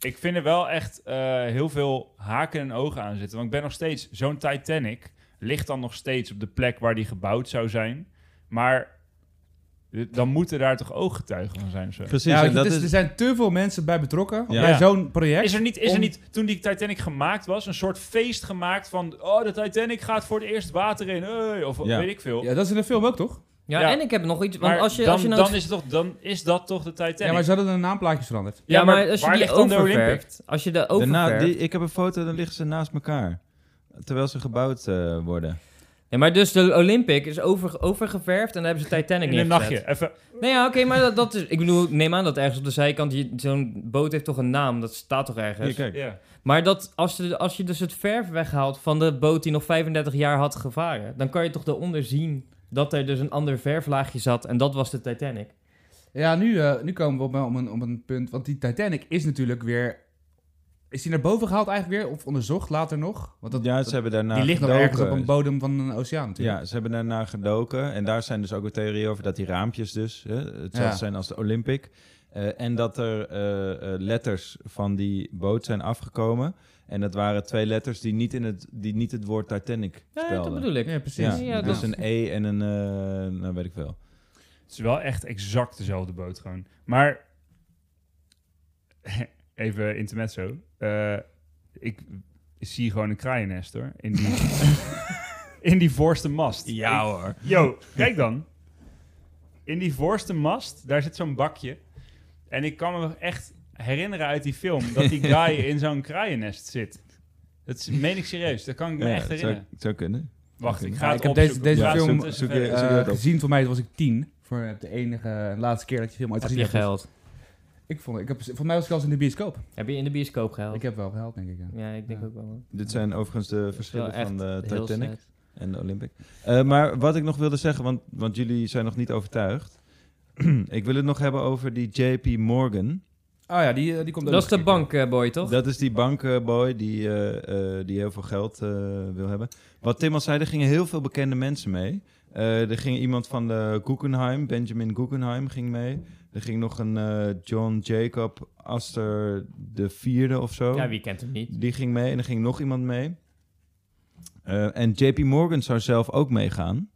ik vind er wel echt eh, heel veel haken en ogen aan zitten. Want ik ben nog steeds, zo'n Titanic ligt dan nog steeds op de plek waar die gebouwd zou zijn. Maar eh, dan moeten daar toch ooggetuigen van zijn? of Zo.
Precies,
Ja,
en dat
het is- dus
is,
Er zijn te veel mensen bij betrokken
Ja.
bij
Ja.
zo'n project.
Is er, niet, is er
om-
niet, toen die Titanic gemaakt was, een soort feest gemaakt van... Oh, de Titanic gaat voor het eerst water in. hey, of
Ja.
weet ik veel.
Ja, dat is in de film ook, toch?
Ja,
Ja.
en ik heb nog iets... Want
Maar
als je,
dan,
als je nou
dan, is het toch, dan is dat toch de Titanic.
Ja, maar ze hadden hun naamplaatjes veranderd.
Ja, maar als je
waar
die
ligt dan de Olympic?
oververft, als je de
daarna-
oververft...
die- ik heb een foto, dan liggen ze naast elkaar. Terwijl ze gebouwd eh, worden.
Ja, maar dus de Olympic is over, overgeverfd en daar hebben ze Titanic
In een
neergezet.
nachtje. Even,
Nee, ja, oké, maar dat, dat is... Ik bedoel, ik neem aan dat ergens op de zijkant... je- Zo'n boot heeft toch een naam, dat staat toch
Hier,
ergens?
kijk.
ja.
Maar dat, als, je, als je dus het verf weghaalt van de boot die nog 35 jaar had gevaren... dan kan je toch daaronder zien dat er dus een ander verflaagje zat... en dat was de Titanic.
Ja, nu, eh, nu komen we op, op, een, op een punt. Want die Titanic is natuurlijk weer... Is die naar boven gehaald eigenlijk weer? Of onderzocht later nog? Want dat,
ja,
dat-
ze hebben daarna
die ligt nog
gedoken.
ergens op een bodem van een oceaan natuurlijk.
Ja, ze hebben daarna gedoken. En daar zijn dus ook een theorie over dat die raampjes dus hè, hetzelfde
Ja.
zijn als de Olympic. Eh, en dat er eh, eh, letters van die boot zijn afgekomen. En dat waren twee letters die niet, in het, die niet het woord Titanic
Ja,
spelden.
dat bedoel ik.
Ja,
Ja,
precies.
Ja, nou.
dus
dat-
een E en een, eh, nou weet ik veel.
Het is wel echt exact dezelfde boot gewoon. Maar, even intermezzo. Eh ik zie gewoon een kraaiennest hoor. In die, in die voorste mast. Ik-
hoor.
Yo, kijk dan. In die voorste mast, daar zit zo'n bakje. En ik kan me echt herinneren uit die film dat die guy in zo'n kraaiennest zit. Dat is, meen ik serieus, dat kan ik me
Ja,
echt
het zou,
herinneren.
het zou kunnen.
Wacht, ik
Ja,
ga het
ik heb
opzoeken.
deze- deze
Ja,
film-
het is
zoek
even-
je-
Eh,
Zie dat ook?
gezien voor mij was ik tien. Voor eh, de enige en laatste keer dat je film ooit
Heb
gezien
je
hebt.
gehuild?
Ik vond, ik heb, voor mij was ik al eens in de bioscoop.
Heb je in de bioscoop gehuild?
Ik heb wel gehaald, denk ik. Ja.
Ja, ik denk
Ja.
ook wel. man.
Dit zijn overigens de
Dat is wel
verschillen
echt
van de
heel
Titanic
sad.
en de Olympic. Eh, maar wat ik nog wilde zeggen, want, want jullie zijn nog niet overtuigd. ik wil het nog hebben over die JP Morgan.
Oh ja, die, eh, die komt ook
Dat is
nog
de
een keer.
bankboy, toch?
Dat is die bankboy die, eh, eh, die heel veel geld eh, wil hebben. Wat Tim al zei, er gingen heel veel bekende mensen mee. Eh, er ging iemand van de Guggenheim, Benjamin Guggenheim, ging mee. Er ging nog een eh, John Jacob Astor de vierde of zo.
Ja, wie kent hem niet?
Die ging mee en er ging nog iemand mee. Eh, en JP Morgan zou zelf ook meegaan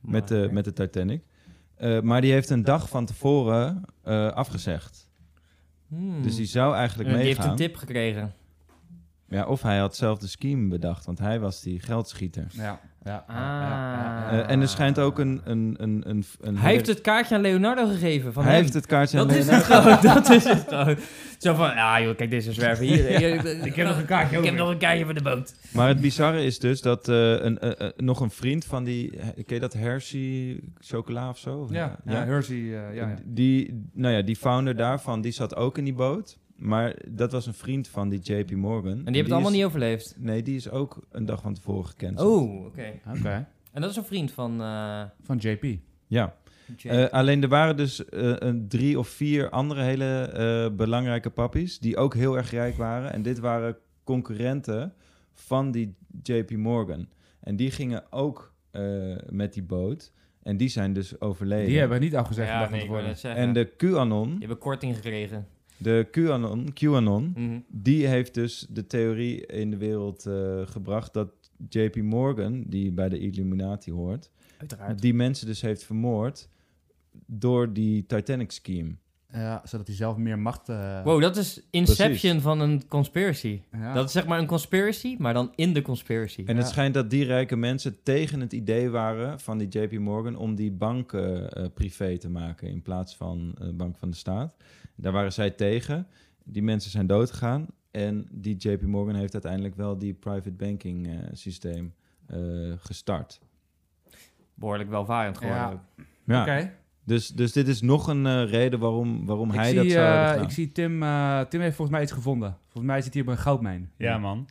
met de,
Maar-
met de Titanic. Eh, maar die heeft een dag van tevoren eh, afgezegd.
Hmm.
Dus die zou
En
eigenlijk
die heeft
meegaan.
een tip gekregen.
Ja, of hij had zelf de scheme bedacht, want hij was die geldschieter.
Ja, ja,
Ah.
Eh, en er schijnt ook een... een, een, een, een
Hij heeft het kaartje aan Leonardo gegeven. Van
hij
hem.
heeft het kaartje aan
Dat is
Leonardo.
het gewoon. Dat is het gewoon. Zo van, ah joh, kijk deze zwerver hier.
Ik heb nog een kaartje
Ik heb
over.
nog een kaartje voor de boot.
Maar het bizarre is dus dat eh, een, eh, eh, nog een vriend van die... Ken je dat Hershey chocola of zo?
Ja, ja, Hersey, eh, ja, ja.
Die, nou ja, die founder daarvan, die zat ook in die boot. Maar dat was een vriend van die JP Morgan.
En die hebben het allemaal niet overleefd.
niet... Nee, die is ook een dag van tevoren gecanceld.
Oh, oké.
Oké.
En dat is een vriend van... eh,
Van JP.
Ja. Eh, alleen er waren dus eh, een drie of vier andere hele eh, belangrijke pappies die ook heel erg rijk waren. En dit waren concurrenten van die JP Morgan. En die gingen ook eh, met die boot. En die zijn dus overleden.
Die hebben niet al gezegd
ja,
gedacht
nee, ik wou
worden.
net zeggen.
En de QAnon,
Je hebt een korting gekregen.
de QAnon, QAnon
Mhm.
die heeft dus de theorie in de wereld eh, gebracht dat JP Morgan, die bij de Illuminati hoort,
Uiteraard.
die mensen dus heeft vermoord door die Titanic scheme.
Ja, zodat hij zelf meer macht... eh,
Wow, dat is inception
Precies.
van een conspiracy.
ja.
Dat is zeg maar een conspiracy, maar dan in de conspiracy.
En het
Ja.
schijnt dat die rijke mensen tegen het idee waren van die JP Morgan om die bank eh, eh, privé te maken in plaats van eh, bank van de staat. Daar waren zij tegen. Die mensen zijn doodgegaan. En die JP Morgan heeft uiteindelijk wel die private banking eh, systeem eh, gestart.
Behoorlijk welvarend geworden.
Ja.
ook.
Ja.
Oké.
Dus, dus dit is nog een eh, reden waarom, waarom
Ik,
hij dat
zie,
zou
eh,
hebben gedaan.
ik zie Tim... eh, Tim heeft volgens mij iets gevonden. Volgens mij zit hij op een goudmijn.
Ja, man.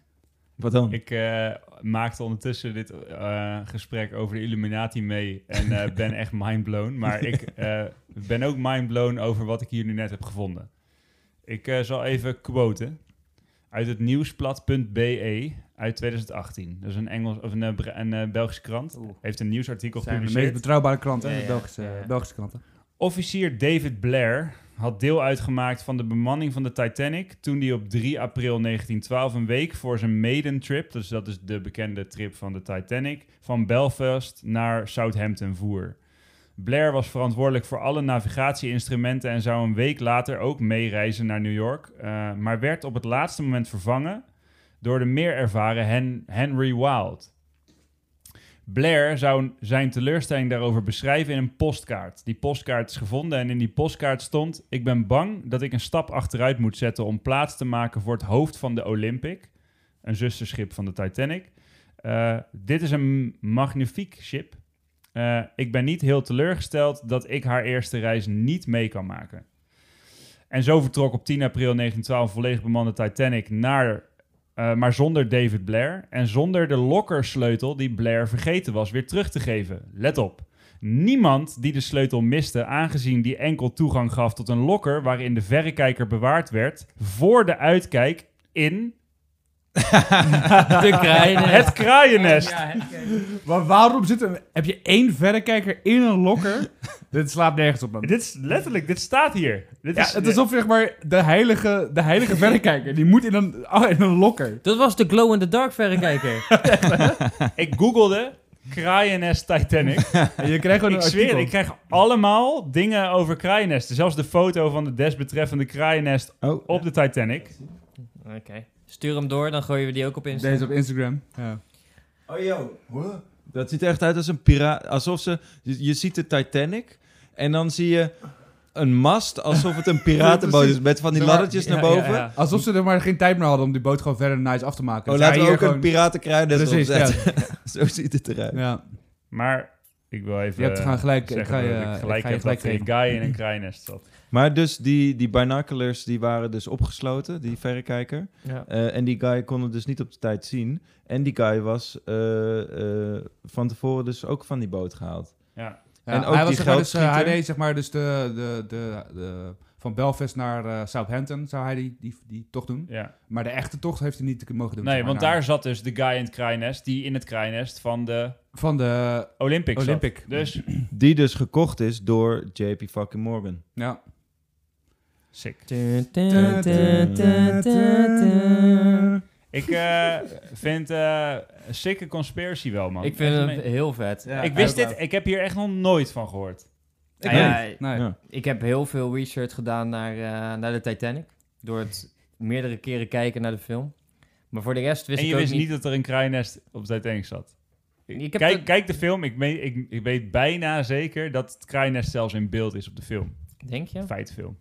Wat dan?
Ik eh, maakte ondertussen dit eh, gesprek over de Illuminati mee en eh, ben echt mindblown. Maar ik eh, ben ook mindblown over wat ik hier nu net heb gevonden. Ik eh, zal even quoten uit het nieuwsblad.be E uit 2018. Dat is een, Engels, of een, eh, Bre- een eh, Belgische krant.
Oeh.
Heeft een nieuwsartikel
Zijn de
gepubliceerd.
meest betrouwbare klanten,
Ja,
hè, de
ja,
Belgische,
ja, ja.
Belgische klanten.
Officier David Blair had deel uitgemaakt van de bemanning van de Titanic toen hij op 3 april 1912 een week voor zijn maiden trip, dus dat is de bekende trip van de Titanic, van Belfast naar Southampton voer. Blair was verantwoordelijk voor alle navigatieinstrumenten en zou een week later ook meereizen naar New York, eh, maar werd op het laatste moment vervangen door de meer ervaren Hen- Henry Wild. Blair zou zijn teleurstelling daarover beschrijven in een postkaart. Die postkaart is gevonden en in die postkaart stond: Ik ben bang dat ik een stap achteruit moet zetten om plaats te maken voor het hoofd van de Olympic, een zusterschip van de Titanic. Eh, dit is een magnifiek schip. Eh, ik ben niet heel teleurgesteld dat ik haar eerste reis niet mee kan maken. En zo vertrok op 10 april 1912 volledig bemande Titanic naar eh, maar zonder David Blair en zonder de lokkersleutel die Blair vergeten was weer terug te geven. Let op. Niemand die de sleutel miste, aangezien die enkel toegang gaf tot een lokker waarin de verrekijker bewaard werd, voor de uitkijk in
De krijnen.
het kraaiennest.
Maar waarom zit er... Heb je één verrekijker in een lokker? Dit slaat nergens op, man.
Dit is letterlijk, dit staat hier. Dit
Ja,
is,
het is alsof zeg maar, de heilige, de heilige verrekijker, die moet in een, oh, in een lokker.
Dat was de glow-in-the-dark verrekijker.
Ik googelde kraaiennest Titanic.
En je krijgt gewoon
ik
een
zweer,
artikel.
ik krijg allemaal dingen over kraaiennesten. Zelfs de foto van de desbetreffende kraaiennest
Oh,
op de Titanic.
Oké. Stuur hem door, dan gooien we die ook op Insta.
Deze op Instagram. Ja.
Oh yo. Dat ziet er echt uit als een piraat. Alsof ze. Je, je ziet de Titanic. En dan zie je een mast. Alsof het een piratenboot is. Met van die
Zeg maar,
laddertjes naar
ja, ja,
boven.
ja.
Alsof ze er maar geen tijd meer hadden om die boot gewoon verder nice af te maken.
Oh,
Dus
laten
ja,
we
hier
ook een
gewoon-
piratenkruiden
Precies, ja.
opzetten. Zo ziet het eruit.
ja.
Maar ik wil even
Je hebt gaan gelijk, ik
zeggen
ga je,
dat ik gelijk
ik ga je
heb
gelijk
dat die
geven.
guy in een kraaiennest zat.
Maar dus die, die binoculars die waren dus opgesloten. Die verrekijker.
Ja.
Eh, en die guy kon het dus niet op de tijd zien. En die guy was eh, eh, van tevoren dus ook van die boot gehaald.
Ja.
Ja,
En ook
hij was,
die
zeg maar, dus, eh, hij
geldschieter.
deed zeg maar dus de, de, de, de- van Belfast naar eh, Southampton zou hij die, die, die tocht doen.
Ja.
Maar de echte tocht heeft hij niet mogen doen.
Nee,
zeg maar,
want
nou,
daar zat dus de guy in het kraaiennest die in het kraaiennest van de
Van de...
Olympics zat.
Olympic.
Dus,
Die dus gekocht is door JP fucking Morgan.
Ja.
sick. Ik eh, vind eh, een sicke conspiracy wel, man.
Ik vind
Echt
hem
meen-
heel vet.
Ik wist dit, ik heb hier echt nog nooit van gehoord.
Ik,
ook
ja,
Nee.
Ja.
ik heb heel veel research gedaan naar, eh, naar de Titanic. Door het meerdere keren kijken naar de film. Maar voor de rest wist
en
ik
je
ook
wist niet
niet...
dat er een kraaiennest op Titanic zat.
Ik heb
Kijk,
dat-
kijk de film, ik, meen- ik, ik weet bijna zeker dat het kraaiennest zelfs in beeld is op de film.
Denk je? Er
Feitfilm.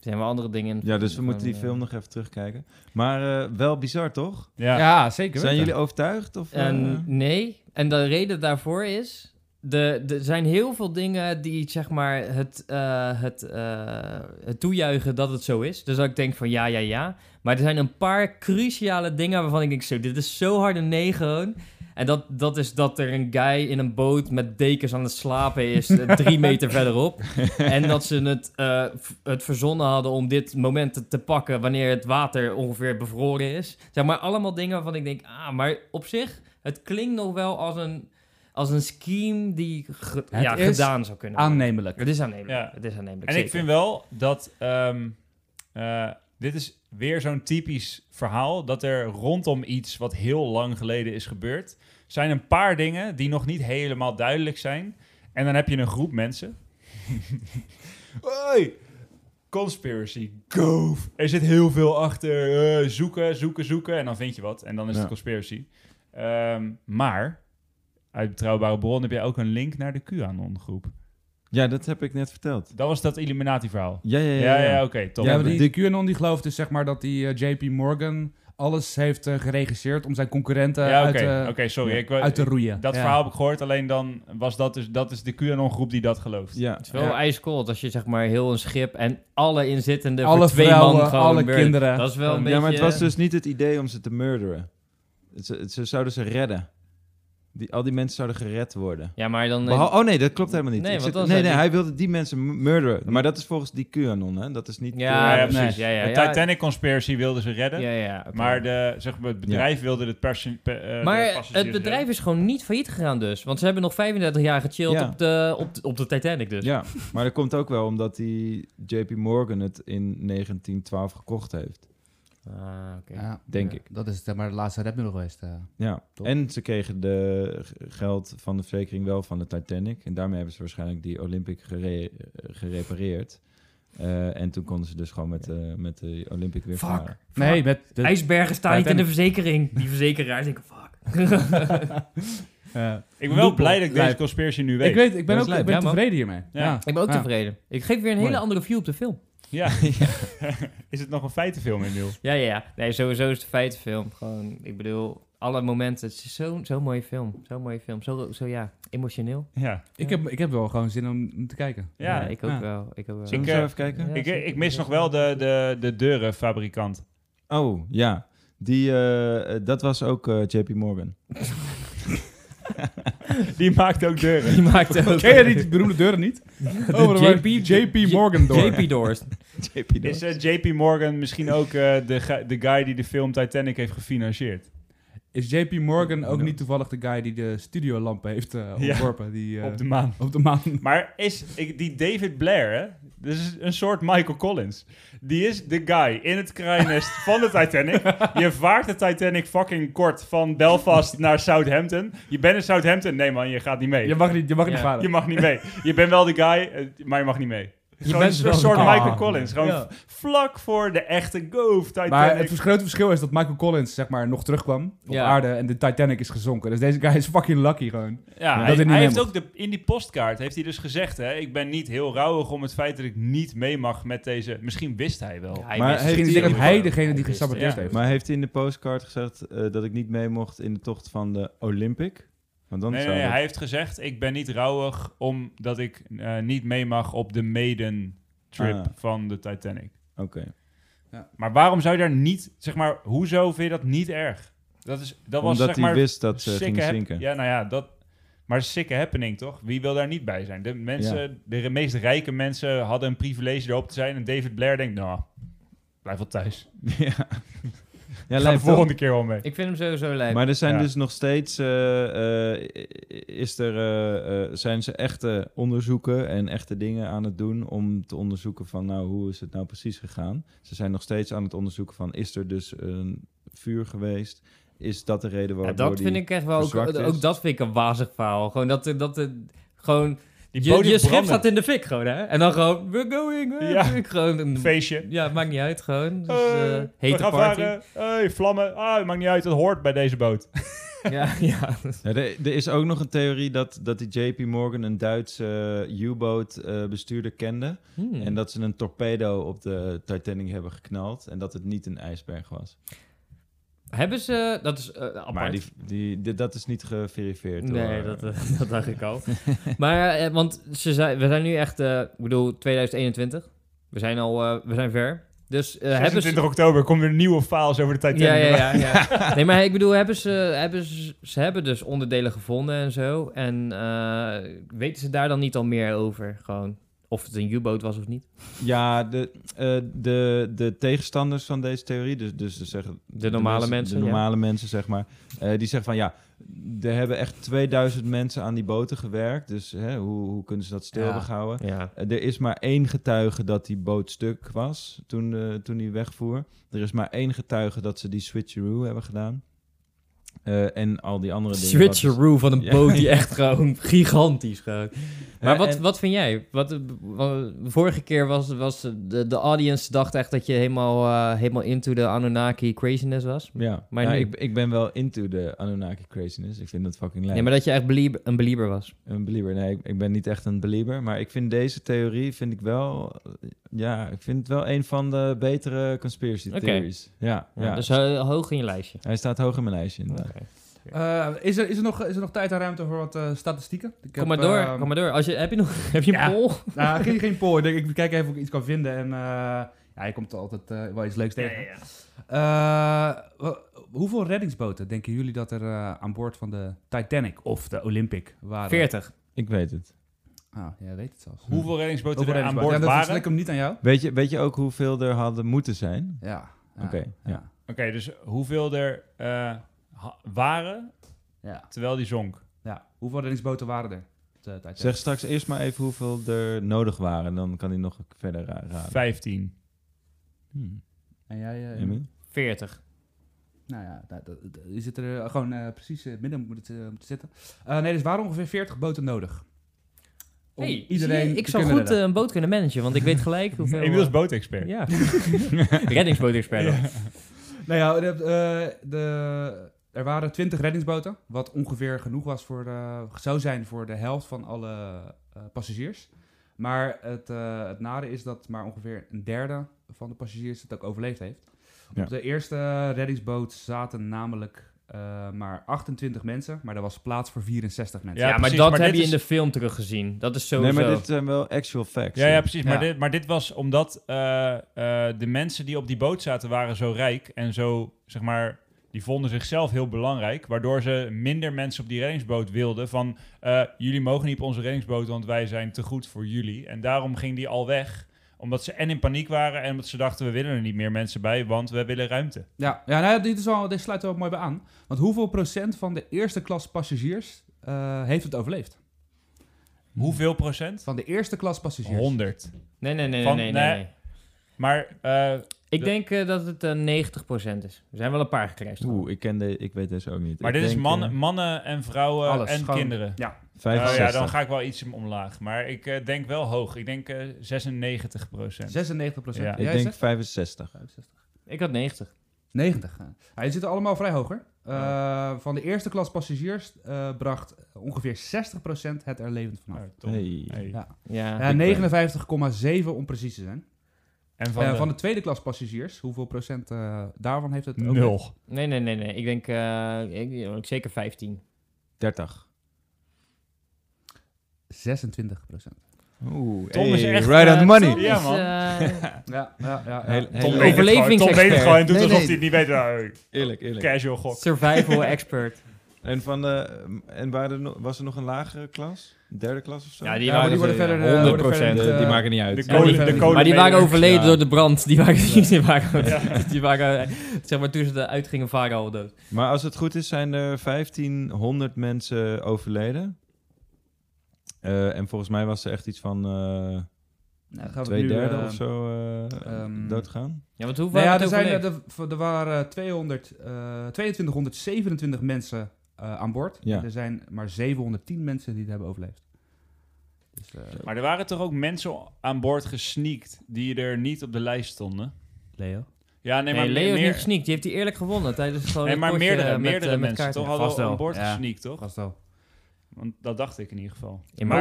zijn wel andere dingen in.
Ja, dus we
Van,
moeten die
eh,
film nog even terugkijken. Maar eh, wel bizar, toch?
Ja.
Ja. zeker.
Zijn
weten.
jullie overtuigd? Of, eh,
En nee, en de reden daarvoor is... de- Er zijn heel veel dingen die zeg maar het, eh, het, eh, het toejuichen dat het zo is. Dus dat ik denk van ja, ja, ja. Maar er zijn een paar cruciale dingen waarvan ik denk zo, dit is zo hard een nee gewoon. En dat, dat is dat er een guy in een boot met dekens aan het slapen is, eh, drie meter verderop. En dat ze het, eh, v- het verzonnen hadden om dit moment te, te pakken wanneer het water ongeveer bevroren is. Zeg maar allemaal dingen waarvan ik denk, ah, maar op zich, het klinkt nog wel als een, als een scheme die ge-
Het
ja,
is
gedaan zou kunnen worden.
Aannemelijk.
Het is aannemelijk.
Ja.
Het is aannemelijk.
En ik
zeker.
vind wel dat. ehm, eh, dit is weer zo'n typisch verhaal. Dat er rondom iets wat heel lang geleden is gebeurd. zijn een paar dingen die nog niet helemaal duidelijk zijn. En dan heb je een groep mensen. Hoi! Conspiracy, go! Er zit heel veel achter. eh, zoeken, zoeken, zoeken. En dan vind je wat. En dan is
Ja.
het conspiracy. Ehm, maar. Uit betrouwbare bron heb jij ook een link naar de QAnon-groep.
Ja, dat heb ik net verteld.
Dat was dat Illuminati-verhaal.
Ja, ja, ja.
Ja,
ja.
ja, oké, top.
Ja,
Ja,
maar die,
die-
die QAnon die gelooft dus zeg maar dat die eh, JP Morgan alles heeft eh, geregisseerd om zijn concurrenten
Ja, oké,
uit, eh,
oké, sorry.
ja,
ik, wou-
uit te roeien.
dat
Ja.
verhaal heb ik gehoord, alleen dan was dat dus... Dat is de QAnon-groep die dat gelooft.
Ja.
Het is wel
Ja.
ijskoud als je zeg maar heel een schip en alle inzittenden
Alle
voor twee
vrouwen,
man gewoon
alle
murder.
kinderen.
Dat is wel een
Ja,
beetje... eh,
maar het was dus niet het idee om ze te murderen. Het- Ze, ze zouden ze redden. Die, al die mensen zouden gered worden.
Ja, maar dan...
Behal- oh nee, dat klopt helemaal niet.
Nee,
Ik
want
zit-
dan
nee,
zijn
nee
die-
hij wilde die mensen m- murderen. Maar dat is volgens die QAnon, hè? Dat is niet... eh,
ja,
Ja,
ja,
ja,
precies.
nee.
Ja, ja,
de
ja.
Titanic-conspiracy wilden ze redden.
Ja, ja, oké.
Maar de, zeg maar het bedrijf wilde het perso- pe- eh, de
Maar
passagiers
het bedrijf
redden.
is gewoon niet failliet gegaan dus. Want ze hebben nog 35 jaar gechilled
Ja.
op, de, op, de- op de Titanic dus.
Ja, maar dat komt ook wel omdat die JP Morgan het in 1912 gekocht heeft,
Ah, oké.
Ja,
denk
Ja.
ik.
dat is zeg maar de laatste redmiddel geweest. eh.
Ja.
Top.
En ze kregen de g- geld van de verzekering wel van de Titanic. En daarmee hebben ze waarschijnlijk die Olympic gere- eh, gerepareerd. Eh, en toen konden ze dus gewoon met, eh, met de Olympic weer
Fuck.
varen.
Nee, met, de-
IJsbergen staan niet in de
Titanic.
verzekering. Die verzekeraars denken, fuck.
eh,
Ik ben wel
Loophole.
blij dat ik deze
Lijp.
conspiracy nu weet.
ik weet, ik
Dat
ben
is
ook ik
lijp.
ben
Ja, man.
tevreden hiermee.
Ja.
Ja.
Ik ben ook
Ja.
tevreden. Ik geef weer een hele
Mooi.
andere view op de film.
Ja. is het nog een feitenfilm, Emiel?
Ja, ja, ja. Nee, sowieso is het een feitenfilm. Gewoon, ik bedoel, alle momenten. Het is zo'n zo mooie film. Zo'n mooie film. Zo, zo ja, emotioneel.
Ja.
Ik, heb, ik heb wel gewoon zin om om te kijken.
Ja.
ik ook
Ja.
wel. Ik ook wel.
Zullen we
Ik,
zo
eh,
even kijken?
Ja,
ik,
zeker,
ik mis
zeker.
nog wel de, de, de deurenfabrikant.
Oh, ja. Die, eh, eh, dat was ook eh, JP Morgan.
Die maakt ook deuren.
Die maakt ook...
Ken je die beroemde deuren niet? Oh, maar
JP
JP Morgan door.
JP Doors.
JP Morgan.
Is eh, JP Morgan misschien ook eh, de, ge- de guy die de film Titanic heeft gefinancierd?
Is JP Morgan ook
Ja.
niet toevallig de guy die de studiolampen heeft eh,
Ja.
ontworpen? Die, eh,
Op de maan.
op de maan.
Maar is ik, die David Blair, hè? Dat is een soort Michael Collins. Die is de guy in het kraaiennest van de Titanic. Je vaart de Titanic fucking kort van Belfast naar Southampton. Je bent in Southampton. Nee man, je gaat niet mee.
Je mag niet, je mag
Ja.
niet varen.
Je mag niet mee. Je bent wel de guy, eh, maar je mag niet mee. Gewoon
bent
een
wel de
soort
guy.
Michael
Ah.
Collins. Gewoon
Ja.
v- vlak voor de echte go of Titanic.
Maar het vers- grote verschil is dat Michael Collins zeg maar nog terugkwam op
Ja.
aarde en de Titanic is gezonken. Dus deze guy is fucking lucky gewoon.
Ja, hij,
dat hij niet
hij
mee
heeft
mocht.
ook de, in die postkaart heeft hij dus gezegd, hè, ik ben niet heel rouwig om het feit dat ik niet mee mag met deze. Misschien wist hij wel.
Ja, hij
Maar
wist-
heeft
Misschien is
hij-
dat hij degene die
wist het.
gesaboteerd
ja.
heeft.
Maar heeft hij in de postcard gezegd eh, dat ik niet mee mocht in de tocht van de Olympic? Want dan
Nee,
zou
nee,
dat-
hij heeft gezegd: Ik ben niet rouwig omdat ik eh, niet mee mag op de Maiden-trip
Ah.
van de Titanic.
Oké.
Maar waarom zou je daar niet, zeg maar, hoezo vind je dat niet erg? Dat, is, dat was
Omdat
zeg
hij
maar.
wist dat ze
sikke
ging
hap-
zinken.
Ja, nou ja, dat. Maar sikke happening toch? Wie wil daar niet bij zijn? De, mensen, de meest rijke mensen hadden een privilege erop te zijn. En David Blair denkt: Nou, blijf wel thuis.
Ja,
Ja, Ga
ja
de
lijkt wel.
volgende keer wel mee.
Ik vind hem sowieso lijp.
Maar er zijn
Ja.
dus nog steeds, eh, eh, is er, eh, eh, zijn ze echte onderzoeken en echte dingen aan het doen om te onderzoeken van nou hoe is het nou precies gegaan. Ze zijn nog steeds aan het onderzoeken van is er dus een vuur geweest? Is dat de reden
Ja,
waardoor
dat
die...
vind ik echt wel... Ook,
verzwakt is.
ook dat vind ik een wazig verhaal. Gewoon dat... er- dat er- gewoon,
Die
je,
podium
je schip
brandde.
staat in de fik gewoon, hè? En dan gewoon... We're going, we're
Ja.
going. Gewoon een-
Feestje.
Ja, maakt niet uit gewoon. Dus,
Hey,
eh,
we
hete
gaan
party. Eh,
varen. Hey, vlammen. Ah, maakt niet uit. Dat hoort bij deze boot.
Ja, ja.
Ja, er, er is ook nog een theorie dat, dat die JP Morgan een Duitse eh, U-boot eh, bestuurder kende.
Hmm.
En dat ze een torpedo op de Titanic hebben geknald. En dat het niet een ijsberg was.
Hebben ze... Dat is eh, apart.
Maar die, die, dit- dat is niet geverifieerd. door-
Nee, dat, eh, dat dacht ik al. maar, eh, want ze zijn, we zijn nu echt, eh, ik bedoel, 2021. We zijn al, eh, we zijn ver. Dus eh, hebben ze...
26 oktober komen er nieuwe files over de Titanic.
Ja, ja, ja, ja. Nee, maar ik bedoel, hebben ze, hebben ze, ze hebben dus onderdelen gevonden en zo. En eh, weten ze daar dan niet al meer over? Gewoon of het een U-boot was of niet?
Ja, de, eh, de, de tegenstanders van deze theorie, dus, dus ze zeggen...
De normale mensen,
De
ja.
normale mensen, zeg maar. eh, die zeggen van, ja, er hebben echt 2000 mensen aan die boten gewerkt. Dus hè, hoe, hoe kunnen ze dat stil
Ja.
houden?
Ja.
Eh, Er is maar één getuige dat die boot stuk was toen, eh, toen die wegvoer. Er is maar één getuige dat ze die switcheroo hebben gedaan. Eh, en al die andere dingen. wat dus- is-
Switcheroo van een
Ja.
boot die echt gewoon gigantisch gewoon. Maar
Ja,
wat,
en-
wat vind jij? Wat, eh, wa- vorige keer was, was de, de audience dacht echt dat je helemaal, eh, helemaal into de Anunnaki craziness was.
Ja,
Maar
maar nou,
nu-
ik, ik ben wel into de Anunnaki craziness. Ik vind dat fucking leuk.
Nee, maar dat je echt belie- een belieber was.
Een belieber. Nee, ik, ik ben niet echt een belieber. Maar ik vind deze theorie vind ik wel. eh, Ja, ik vind het wel een van de betere conspiracy
Oké.
theories. Ja, ja,
Ja, Dus ho- hoog in je lijstje.
hij staat hoog in mijn lijstje. inderdaad.
Eh, is, er, is, er nog, is er nog tijd en ruimte voor wat eh, statistieken? Ik
Kom
heb,
maar door,
eh,
kom maar door. Als je, heb je nog heb je een
Ja.
poll?
nou, geen, geen poll. Ik, denk, ik kijk even of ik iets kan vinden. En eh, ja, je komt altijd eh, wel iets leuks tegen. Eh, wa- hoeveel reddingsboten denken jullie dat er eh, aan boord van de Titanic of de Olympic waren?
40.
Ik weet het.
Ah, jij weet het zelfs.
Hoeveel reddingsboten
Hoeveel
er aan boord
reddingsboten? Ja, dat
waren?
is ik hem niet aan jou.
Weet je, weet je ook hoeveel er hadden moeten zijn?
Ja. ja,
Oké, ja.
Oké, dus hoeveel er eh, ha- waren
ja.
terwijl die zonk?
Ja. Hoeveel reddingsboten waren er? op de Titanic?
Zeg straks eerst maar even hoeveel er nodig waren. Dan kan hij nog verder ra- raden.
15.
Hmm.
En jij, eh,
Emil?
40.
Nou ja, dat, dat- dat- je zit er eh, gewoon eh, precies in het midden moet, het, eh, moeten zitten. Eh, nee, dus waarom ongeveer 40 boten nodig? Om
Hey,
iedereen
zie je, ik
te
zou
kunnen
goed eh,
redden.
een boot kunnen managen, want ik weet gelijk hoeveel... eh,
Emiel is bootexpert.
Ja. Reddingsbootexpert. dan.
Nou ja, de, eh, de- er waren 20 reddingsboten, wat ongeveer genoeg was voor de, zou zijn voor de helft van alle eh, passagiers. Maar het, eh het nare is dat maar ongeveer een derde van de passagiers het ook overleefd heeft.
Ja.
Op de eerste reddingsboot zaten namelijk eh, maar 28 mensen, maar er was plaats voor 64 mensen.
Ja,
Ja,
maar
precies,
dat
maar
heb
dit
je
is-
in de film teruggezien. Dat is
Nee,
sowieso...
maar dit zijn wel actual facts.
Ja, ja, precies. Maar,
Ja.
Dit, maar dit was omdat eh, eh, de mensen die op die boot zaten waren zo rijk en zo, zeg maar, die vonden zichzelf heel belangrijk, waardoor ze minder mensen op die reddingsboot wilden van, eh, jullie mogen niet op onze reddingsboot, want wij zijn te goed voor jullie. En daarom ging die al weg, omdat ze en in paniek waren en omdat ze dachten, we willen er niet meer mensen bij, want we willen ruimte.
Ja, ja nou, ja, dit, is wel, dit sluit wel mooi bij aan. Want hoeveel procent van de eerste klas passagiers eh, heeft het overleefd?
Hoeveel procent?
Van de eerste klas passagiers.
100.
Nee, nee, nee,
Van-
nee, nee,
nee.
nee.
Maar eh,
Ik
De-
denk eh, dat het eh, 90% is. Er zijn wel een paar gecrashed.
Oeh, ik, ken de, ik weet deze ook niet.
Maar
Ik
dit is
denk,
mannen,
eh,
mannen en vrouwen
Alles,
en
gewoon-
kinderen.
Ja,
Oh
65.
ja, dan ga ik wel iets omlaag. Maar ik eh, denk wel hoog. Ik denk eh 96 procent.
96 procent.
Ja.
Ik
Jij
denk
zegt?
65.
65.
Ik had 90.
90. Ja, die zitten allemaal vrij hoger. Van de eerste klas passagiers eh, bracht ongeveer 60 procent het er levend vanaf.
Hey.
Nou, Hey.
Ja.
Ja.
Ja, 59,7 om precies te zijn.
En
Van,
van, de,
van de tweede klas passagiers, hoeveel procent eh, daarvan heeft het overleefd?
nul.
Nee, nee, nee, nee. Ik denk eh, ik, ik zeker 15.
30.
26 procent.
Oeh,
Tom is echt,
right on the
Eh,
money.
Tom is,
Ja, man.
eh,
Ja, ja, ja. Nou, ja.
Heel- heel
Tom
leuk.
weet het gewoon. Tom weet het
Overlevingsexpert.
gewoon en doet
Nee,
alsof
nee.
hij het niet weet. Nou,
Eerlijk, eerlijk.
casual gok.
survival expert.
En, van de, en waren er no- was er nog een lagere klas? Een derde klas of zo?
Ja, die,
Ja, maar
waren
die worden
dus, eh,
verder, eh,
100%.
De-
procent, eh,
die maken niet uit.
De
Ja, die
kolen, de
verder-
kolen
maar die waren
medewerkers.
overleden
Ja.
door de brand. Die waren, die waren, die waren eh, zeg maar, toen ze eruit gingen, varen al dood.
Maar als het goed is, zijn er 1500 mensen overleden. Eh, en volgens mij was er echt iets van eh
Nou, gaan we
twee
nu,
derde
eh,
of zo eh,
ehm,
doodgaan.
Ja, want hoe
Nou
waren
ja,
het
er, zijn,
overleefd?
er, v- er waren 200, eh, 2227 mensen eh, aan boord.
Ja.
En Er zijn maar 710 mensen die het hebben overleefd. Dus, eh,
Maar er waren toch ook mensen aan boord gesneakt die er niet op de lijst stonden?
Leo?
Ja, nee,
Nee,
maar
Leo
meer,
heeft niet gesneakt. Die heeft die eerlijk gewonnen tijdens gewoon
nee,
het
maar
potje
meerdere,
met,
meerdere
eh, met
mensen
kaarten.
toch hadden
Vast
wel
wel,
aan boord
ja.
gesneakt, toch?
Vast wel.
Want dat dacht ik in ieder geval.
Ja, maar-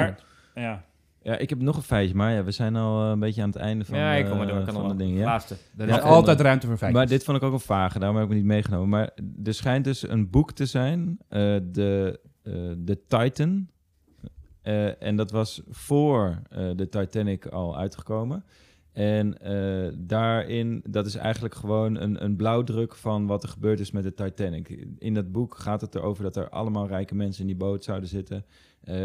maar, ja.
Ja, ik heb nog een feitje, maar ja, we zijn al eh, een beetje aan het einde van,
Ja, ik kom
eh,
maar door. Kan
van
nog
de
wel.
dingen. Ja?
Laatste.
Er
Ja,
is
en,
altijd ruimte voor vijf.
Maar dit vond ik ook een vage, daarom heb ik het niet meegenomen. Maar er schijnt dus een boek te zijn, eh, de, eh, de Titan. Eh, en dat was voor eh, de Titanic al uitgekomen. En eh, daarin, dat is eigenlijk gewoon een, een blauwdruk van wat er gebeurd is met de Titanic. In dat boek gaat het erover dat er allemaal rijke mensen in die boot zouden zitten. Eh,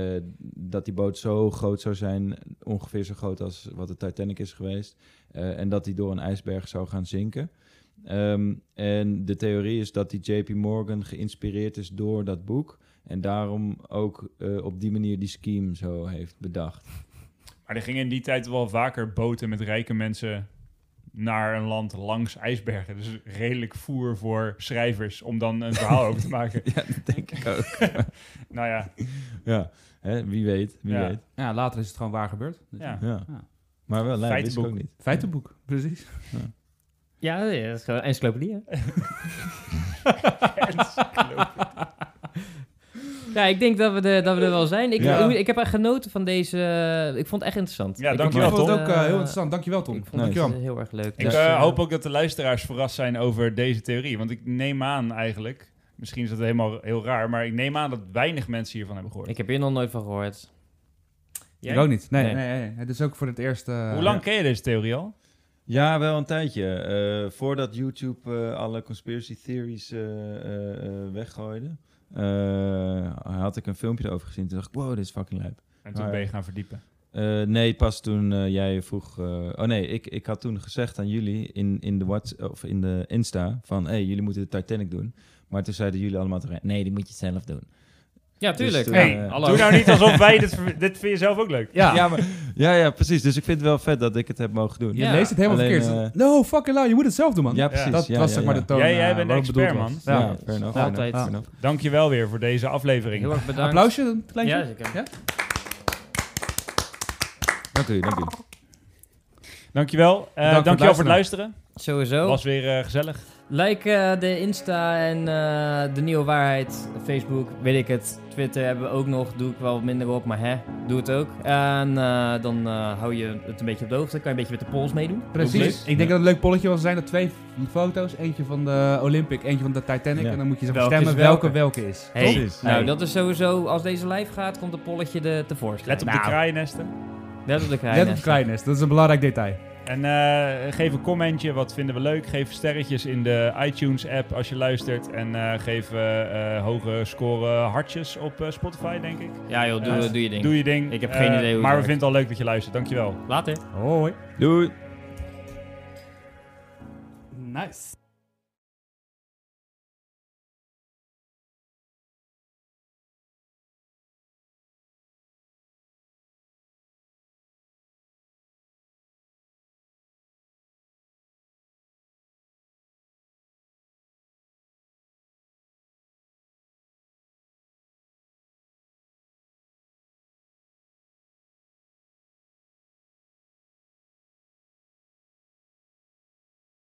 dat die boot zo groot zou zijn, ongeveer zo groot als wat de Titanic is geweest. Eh, en dat die door een ijsberg zou gaan zinken. Ehm, en de theorie is dat die JP Morgan geïnspireerd is door dat boek. En daarom ook eh, op die manier die scheme zo heeft bedacht.
Maar er gingen in die tijd wel vaker boten met rijke mensen naar een land langs ijsbergen. Dus redelijk voer voor schrijvers om dan een verhaal over te maken.
Ja, dat denk ik ook.
Nou ja,
Ja, hè, wie weet, wie
Ja.
weet.
Ja, later is het gewoon waar gebeurd. Dus
ja.
Ja.
Ja.
Maar wel, nee, wist ik
Feitenboek.
ook niet.
Feitenboek, precies.
Ja, dat is gewoon encyclopedie. hè? Ja, ik denk dat we, de, dat we er wel zijn. Ik,
Ja.
ik heb echt genoten van deze... eh, Ik vond het echt interessant.
Ja,
Ik-
Ik
dankjewel,
vond het
Tom.
ook eh, heel interessant. Dankjewel, Tom.
Ik vond
Nice.
het eh, heel erg leuk.
Ik
Dus,
eh,
eh,
hoop ook dat de luisteraars verrast zijn over deze theorie. Want ik neem aan eigenlijk, misschien is dat helemaal heel raar, maar ik neem aan dat weinig mensen hiervan hebben gehoord.
Ik heb hier nog nooit van gehoord. Jij?
Ik ook niet. Nee,
Nee.
nee. nee, nee. Het is ook voor het eerst... eh,
eh, Hoe lang ken je deze theorie al?
Ja, wel een tijdje. Eh, voordat YouTube eh, alle conspiracy theories eh, eh, eh, weggooide, eh, had ik een filmpje erover gezien. Toen dacht ik, wow, dit is fucking lijp.
En toen
Ah, ja.
ben je gaan verdiepen.
Eh, nee, pas toen eh, jij vroeg... eh, oh nee, ik, ik had toen gezegd aan jullie in, in, de, Whats- of in de Insta van... hey, jullie moeten de Titanic doen. Maar toen zeiden jullie allemaal tegelijk... Nee, die moet je zelf doen.
Ja, tuurlijk.
Dus,
Hey,
eh,
hallo.
Doe nou niet alsof wij dit... ver- Dit vind je zelf ook leuk.
Ja.
Ja, maar, ja, ja, precies. Dus ik vind het wel vet dat ik het heb mogen doen.
Je
Ja.
leest het helemaal
Alleen, eh,
verkeerd. no, fucking la, je moet het zelf doen, man.
Ja, precies.
dat
Ja,
was
ja,
zeg maar
ja.
de toon.
Jij- jij
eh,
bent
waarop
expert,
bedoeld was.
Ja,
Ja.
fair enough.
Altijd.
fair enough, fair enough.
Dank je wel weer voor deze aflevering.
Heel erg bedankt.
Applausje, een kleintje?
Ja, zeker.
Ja?
Dank u, dank u.
Dankjewel. Eh
Bedankt voor het
dankjewel voor het luisteren.
Sowieso.
Was weer eh, gezellig.
Like eh, de Insta en eh, de Nieuwe Waarheid. Facebook, weet ik het. Twitter hebben we ook nog. Doe ik wel minder op, maar hè, doe het ook. En eh, dan eh, hou je het een beetje op de hoogte. Kan je een beetje met de polls meedoen.
Precies. Ik denk dat het een leuk polletje was zijn. Dat twee foto's. Eentje van de Olympic, eentje van de Titanic.
Ja.
En dan moet je zelf
Welke
stemmen
is welke?
welke welke is.
Hey,
Precies.
nou
Hey.
dat is sowieso, als deze live gaat, komt de polletje de, tevoorschijn.
Let op de kraaiennesten.
Nou, let op de kraai.
Let op Kleines, dat is een belangrijk detail.
En eh, geef een commentje. Wat vinden we leuk? Geef sterretjes in de iTunes-app als je luistert. En eh, geef eh, eh, hoge score hartjes op eh, Spotify, denk ik.
Ja joh, doe,
Ja.
doe je ding.
Doe je ding.
Ik heb
Eh,
geen idee hoe het
Maar we
werkt.
vinden het al leuk dat je luistert. Dankjewel.
Later.
Hoi.
Doei.
Nice.